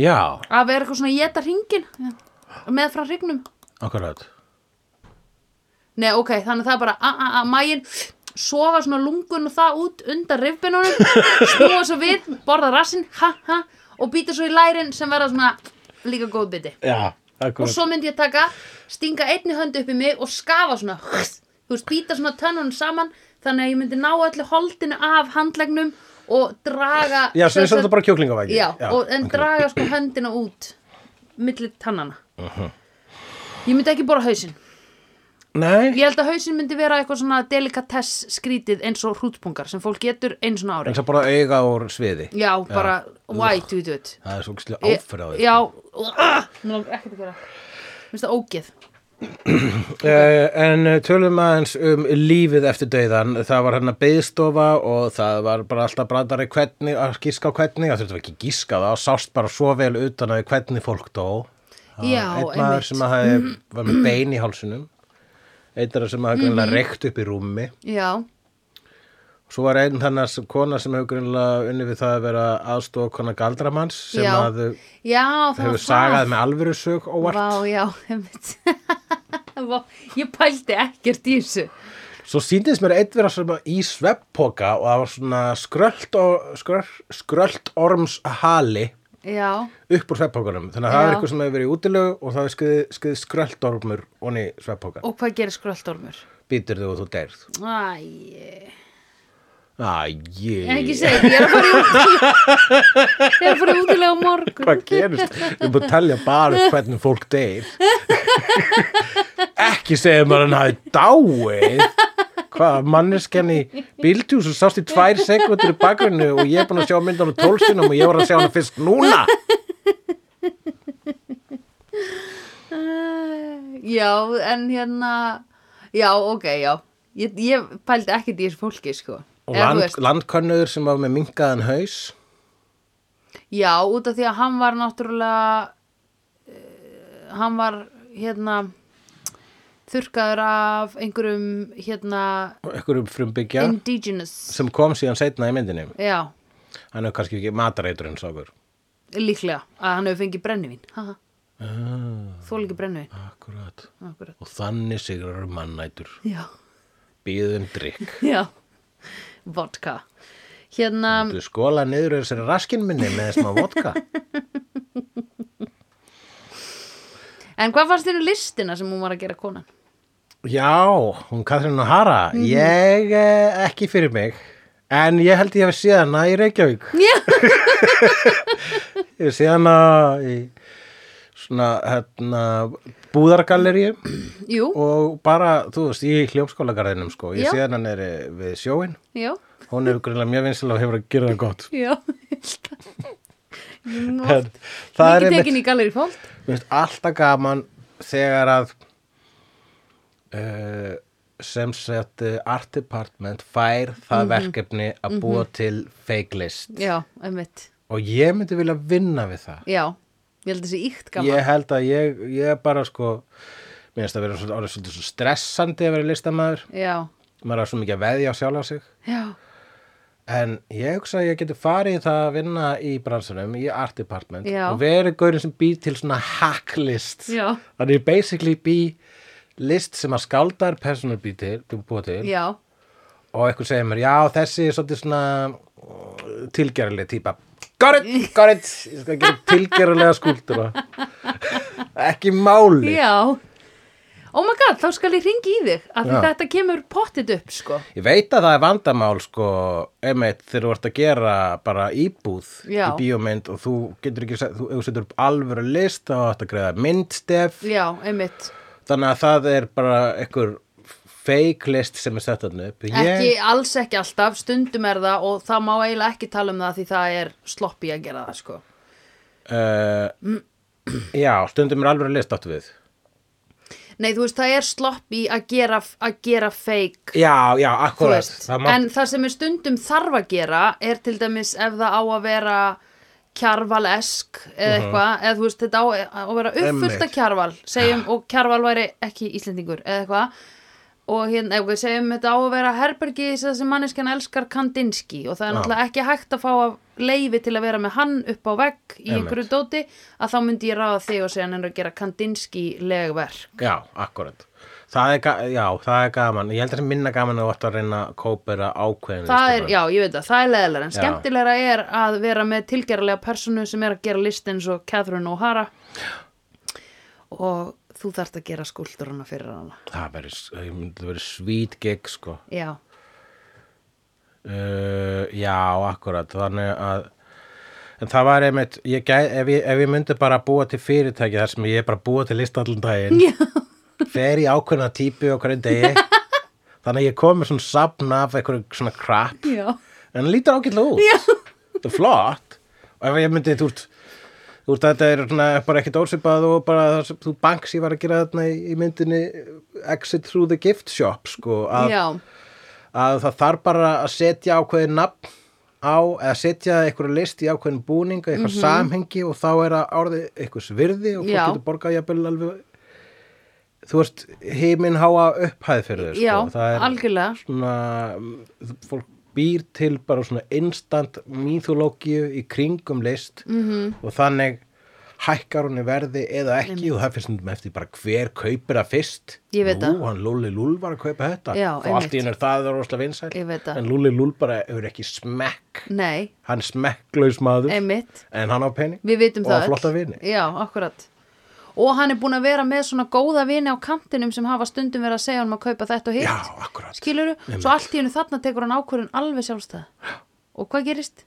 S2: Já,
S1: Að vera eitthvað svona geta hringin með frá hringnum
S2: akkurat
S1: Nei, ok, þannig það er bara a, a, a, maginn sofa svona lungun og það út undan rifbeinunum, snúa svo við borða rassinn, ha, ha og býta svo í lærin sem verða svona líka góð biti.
S2: Já, akkurat
S1: Og svo myndi ég taka, stinga einni hönd upp í mig og skafa svona, þú veist, býta svona tönnunum saman, þannig að ég myndi ná öllu holdinu af handlegnum og draga
S2: Já, svo er þetta bara kjóklingavæki
S1: Já, og, en draga sko höndina út millir tannana Ég myndi ekki bora hausinn.
S2: Nei,
S1: Ég held að hausinn myndi vera eitthvað svona delikatess skrítið eins og hrútspungar sem fólk getur eins og ári.
S2: eins og bara auga úr sviði.
S1: Já, bara, why do you do it?
S2: Það er svo ekki áfyrð á því.
S1: Já, uh, mér langar ekkert að gera. Mér finnst það ógeð.
S2: Uh, en eh, tölum aðeins um lífið eftir dauðan, það var hérna beðstofa og það var bara alltaf brandari hvernig, að gíska á hvernig, það þurfti ekki gíska það, sást bara svo vel utan að hvernig fólk dó. Það var
S1: Já,
S2: Einn
S1: einmitt. Mhm.
S2: maður sem að hafði, var með bein í hálsunum, einn þeirra sem hafði
S1: Mhm.
S2: greinlega reykt upp í rúmi,
S1: Já,
S2: svo var einn þannig kona sem hefur greinlega unni við það að vera aðstofa kona galdramanns sem
S1: já.
S2: að
S1: já, það var
S2: hefur sagað með alvöru sög óvart.
S1: Vá, já, einmitt. Vá, ég pældi ekkert í þessu.
S2: Svo síndist mér einn vera svona í svepppoka og það var svona skrölt, og, skröl, skrölt orms hali
S1: Já,
S2: upp úr svepppokanum. Þannig að það
S1: Já.
S2: er eitthvað sem hefur verið í útilegu og það hefur skrið skrölt ormur onni svepppokan.
S1: og hvað gerir skröldormur?
S2: Býtur þau og þú deyrð.
S1: Æ, ég-
S2: Æ,
S1: en ekki
S2: ég...
S1: segið, ég er að fara í út Ég er að fara í útilega á morgun
S2: Hvað gerist? Við erum búin að telja bara upp hvernig fólk deyr. ekki segja maður hann hafi dáið. Hvað, manneskjan í bíldjús og sást í tvær sekundur í bakgrunni og ég er búin að sjá myndan á tólsinum og ég var að sjá hann fyrst núna.
S1: Æ, Já, en hérna Já, ok, já Ég, ég pældi ekkert í þessu fólki, sko Eða,
S2: Og
S1: þú
S2: land,
S1: veist,
S2: landkönnur sem var með minkaðan haus.
S1: Já, út af því að hann var náttúrulega uh, Hann var, hérna Þurkaður af einhverjum, hérna
S2: Ekkur um frumbyggja
S1: Indigenous
S2: sem kom síðan setna í myndinni.
S1: Já,
S2: Hann er kannski ekki matareitur eins og okkur.
S1: líklega Að hann hefur fengið brennivín Haha, þól ekki brennivín
S2: Akkurat.
S1: Ah, Akkurat
S2: Og þannig sigrar mannætur.
S1: Já,
S2: Býðum drikk.
S1: já, vodka. Hérna,
S2: Þú skóla niður úr þessari raskin minni með smá vodka.
S1: en hvað fannst þér um listina sem hún var að gera konan?
S2: Já, hún Katrín O'Hara.
S1: Mhm.
S2: Ég eh, ekki fyrir mig. En ég held ég hef séð hana í Reykjavík.
S1: Já,
S2: Ég hef séð hana í svona hérna, búðargalleríu.
S1: jú,
S2: og bara, þú veist, í hljómskólagarðinum sko, ég
S1: Já.
S2: sé hennan er við sjóin
S1: já,
S2: hún er greinlega mjög vinsal og hefur að gera það gott
S1: já, ég held að. Nú,
S2: En það er
S1: Mikið
S2: einmitt,
S1: tekin í galeri fólk.
S2: mér finnst alltaf gaman þegar að uh, sem sagt eh, art department fær það
S1: Mhm.
S2: verkefni að búa til fake list
S1: Já, einmitt,
S2: og ég myndi vilja vinna við það
S1: já, ég held að þessi íkt gaman.
S2: ég held að ég, ég bara sko mér finnst að vera svolítið, orðið svolítið svo stressandi að vera listamaður
S1: Já,
S2: maður er svo mikið að veðja á sjálfa sig
S1: já,
S2: En ég hugsa að ég geti farið í það að vinna í bransunum, í art department
S1: Já.
S2: og verið gaurinn sem býr til svona hacklist.
S1: já,
S2: Þannig ég basically bý list sem að skáldar personur bý til, bý búið til
S1: já,
S2: og eitthvað segir mér, já þessi er svolítið svona uh, tilgerðarleg típa. Got it, got it, ég skal gera tilgerðarlega skúldur ekki máli.
S1: já. Oh my god, þá skal ég ringi í þig af því
S2: Já.
S1: þetta kemur pottit upp, sko.
S2: Ég veit að það er vandamál sko, einmitt þegar þú ert að gera bara íbúð
S1: Já.
S2: í bíómynd og þú getur ekki, sett- þú, ef þú setur upp alvöru list þá átt að greiða myndstef
S1: Já, einmitt.
S2: þannig að það er bara einhver fake list sem er sett þarna upp.
S1: Ekki, alls ekki alltaf, stundum er það og það má eiginlega ekki tala um það því það er sloppy að gera það, sko.
S2: Uh, já, stundum er alvöru list áttu við.
S1: Nei, þú veist, það er sloppy að gera, að gera fake,
S2: Já, já,
S1: þú
S2: akkurat.
S1: veist.
S2: Það má,
S1: En það sem er stundum þarf að gera er til dæmis ef það á að vera kjarvalesk eða eitthvað, eða þú veist, þetta á að vera uppfullt
S2: Mhm. Einmitt.
S1: að kjarval, segjum, og kjarval væri ekki íslendingur eða eitthvað. Og hérna, ef við segjum þetta á að vera herbergi þess að manneskjan elskar Kandinsky og það er
S2: Já.
S1: náttúrulega ekki hægt að fá að leifi til að vera með hann upp á vegg í
S2: Einmitt.
S1: einhverju dóti að þá myndi ég ráða þig og segja hann er að gera Kandinsky legverk.
S2: já, akkurat. Það er, ga- já, það er gaman. Ég held að það er minna gaman að þú ætti að reyna að kópera ákveðin
S1: það er,
S2: listablaði.
S1: já, ég veit það, það er leðilega en
S2: Já.
S1: skemmtilegra er að vera með tilgerlega personu sem er að gera list eins og Catherine O'Hara og þú þarft að gera skuldur hana fyrir hana
S2: Það verður, ég myndi verið svít gig sko.
S1: já,
S2: Uh, já, akkurat, þannig að en það var einmitt ég gæ, ef, ég, ef ég myndi bara búa til fyrirtæki þar sem ég er bara að búa til list allan daginn
S1: Já.
S2: fer í ákveðna típu okkur einn degi þannig að ég kom með svona safn af einhverju svona crap
S1: Já.
S2: en hann lítur ágætlega út þetta er flott og ef ég myndi, þú ert þú ert þetta er svona, bara ekkert ósipað og bara það sem þú banks ég var að gera þarna í, í myndinni Exit Through the Gift Shop sko, að,
S1: Já.
S2: að það þarf bara að setja ákveðin nafn á eða setja einhverju list í ákveðin búning eitthvað samhengi og þá er að orðið einhvers virði og
S1: Mhm. Já.
S2: fólk getur borgað jafnvel alveg þú veist, heiminn háa upphæð fyrir þau sko.
S1: Já,
S2: Það er-
S1: algjörlega.
S2: svona mm, fólk býr til bara svona instant mythologíu í kringum list
S1: Mhm.
S2: -hmm. og þannig hækkar hún í verði eða ekki og það finnst mér með eftir bara hver kaupir það fyrst
S1: Ég veit
S2: Nú,
S1: það.
S2: hann Lúli Lúl var að kaupa þetta
S1: Já,
S2: og allt í
S1: einmitt.
S2: hennu er það er rosalega vinsæl
S1: Ég veit það.
S2: en Lúli Lúl bara hefur ekki smekk
S1: Nei,
S2: hann er smekklaus maður
S1: einmitt.
S2: en hann á pening
S1: Við vitum
S2: og
S1: það.
S2: á
S1: öll.
S2: flotta vini
S1: Já, akkurat. Og hann er búin að vera með svona góða vini á kantinum sem hafa stundum verið að segja honum að kaupa þetta og hitt.
S2: já, akkurat
S1: Skiluru? Svo allt í hennu þarna tekur hann ákvörðun alveg sjálfstæða. Og hvað gerist?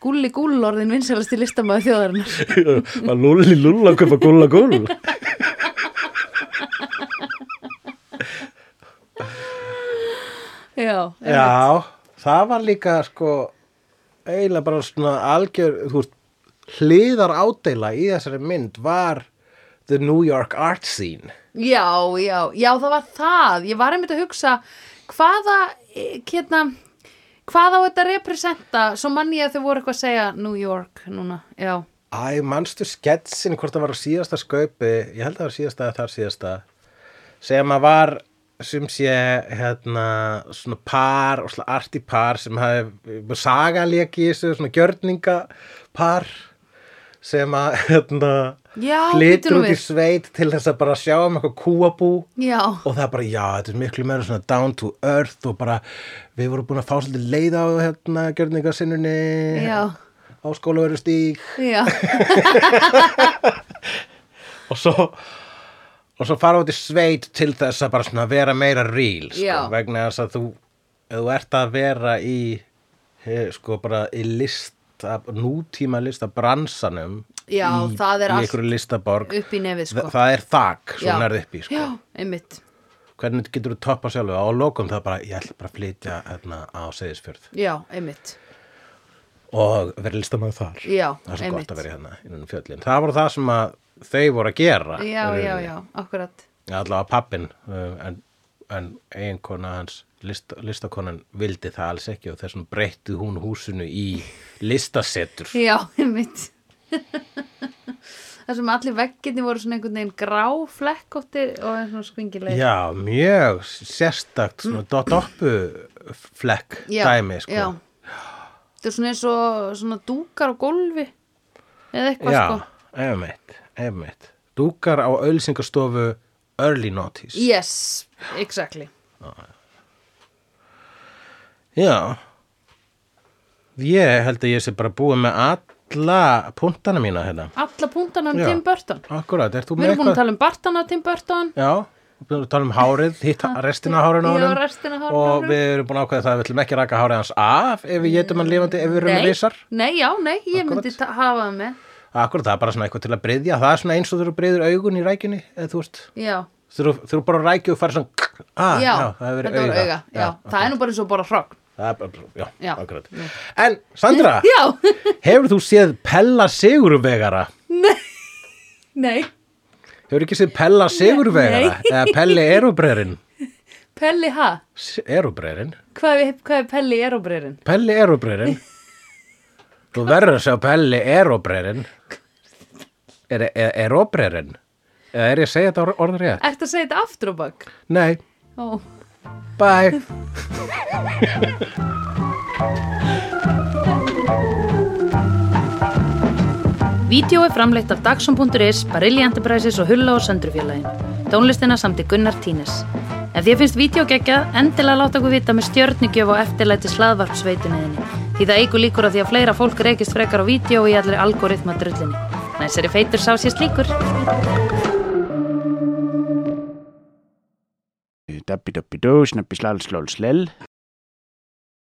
S1: Gulli gull orðin vinsalasti listamæðu þjóðarinnar.
S2: var lúli lúla að kaupa gulla gull
S1: Já.
S2: Já, það var líka sko eiginlega bara svona algjör þú veist, hliðar ádeila í þessari mynd var the New York art scene
S1: Já, já, já, það var það. Ég var einmitt að hugsa hvaða, eh, hérna, hvað á þetta að representa? Svo mann ég að þau voru eitthvað að segja New York núna, já.
S2: Æ, manstu sketsin hvort það var á síðasta skaupi ég held að það var síðasta eða þar síðasta sem að var sem sé hérna svona par og svona arti par sem hafi sagalegi í þessu svona gjörninga par sem að hérna
S1: Já, bíddu
S2: flytur
S1: nú
S2: út í
S1: við.
S2: sveit til þess að bara sjá um eitthvað kúabú
S1: Já,
S2: og það er bara, já, þetta er miklu meira svona down to earth og bara við vorum búin að fá svolítið leið á hérna gjörningarsinnunni
S1: Já.
S2: á skólaveru stík
S1: já,
S2: og svo og svo fara út í sveit til þess að bara svona vera meira real sko,
S1: Já.
S2: vegna þess að þú ef þú ert að vera í eh, sko bara í lista nútíma lista bransanum
S1: Já,
S2: í,
S1: það er
S2: í
S1: allt
S2: einhverju listaborg
S1: upp í nefið sko.
S2: Þa, það er þak svo
S1: Já.
S2: nærð upp í sko.
S1: Já, einmitt.
S2: hvernig getur þú toppa sjálfu og á lokum það bara, ég ætla bara að flytja hérna, á Seyðisfjörð
S1: Já, einmitt.
S2: og vera listamæður þar
S1: Já,
S2: það er svo
S1: einmitt.
S2: gott að vera hérna innan um fjöllin það voru það sem að þau voru að gera
S1: Já,
S2: í
S1: já,
S2: rauninni.
S1: já, akkurat.
S2: Já, allavega pappin en, en eiginkona hans list, listakonan vildi það alls ekki og þessum breytti hún húsinu í listasetur
S1: Já, einmitt. Það sem allir vegginni voru svona einhvern veginn grá flekkóttir og svona skvingileg.
S2: Já, mjög sérstakt svona do- doppu flekk dæmi sko.
S1: Já. Það er svona eins og svona dúkar á gólfi eða eitthvað
S2: já
S1: sko.
S2: einmitt, einmitt Dúkar á auðlýsingastofu Early Notice
S1: Yes, exactly.
S2: Já Ég held að ég sé bara búið með alla puntana mína hérna
S1: Alla punktana um
S2: Já.
S1: Tim Burton.
S2: Akkurat, ert þú
S1: Við
S2: með
S1: erum búin
S2: eitthvað?
S1: að tala um Bartana Tim Burton.
S2: Já, við erum að tala um hárið, hitt restina af hárinu á
S1: Já,
S2: honum.
S1: restina af hárinu á
S2: Og
S1: honum.
S2: við erum búin að ákveða það að við ætlum ekki að raka hárið hans af ef við getum hann lifandi, ef við erum með vísar.
S1: nei, já, nei, ég
S2: Akkurat.
S1: myndi ta- hafa það með.
S2: Akkurat, það er bara svona eitthvað til að bryðja. Það er svona eins og þú eru bryður augun í rækjunni, eða þú veist.
S1: Já,
S2: Þú eru bara að rækju og fara svona, kk, ah, já, það hefur verið
S1: þetta
S2: auga.
S1: var auga. Já, það er nú bara eins og bara hrogn.
S2: Það er bara, já,
S1: Já.
S2: akkurat. En, Sandra,
S1: Já,
S2: hefur þú séð Pella Sigurvegara?
S1: nei,
S2: Hefur ekki séð Pella Sigurvegara? Eða Pelli Erubrerin?
S1: Pelli ha?
S2: Erubrerin?
S1: Hvað er, hvað er Pelli í eróbreyrin?
S2: Pelli Erobreyrinn Þú verður að sjá Pelli Erobreyrinn Er er- Erobreyrinn? Eða er ég að segja þetta orð- orð rétt?
S1: Ertu að segja þetta aftur á bak?
S2: Nei,
S1: Ó,
S2: bye
S1: Vídeó er framleitt af Dagsum.is, Barilli Enterprises og Hulla og Söndrufjörlægin. Tónlistina samt í Gunnar Tínes. Ef því finnst vídeo geggjað, endilega láta okkur vita með stjörnigjöf og eftirlæti slaðvarpsveitunniðinni. Því það eigur líkur að því að fleira fólk reykist frekar á vídeo og í allir algoritma drullinni. Næsari feitur sá sér slíkur.
S3: Dabbi dabbi dó, snabbi slal slól slell.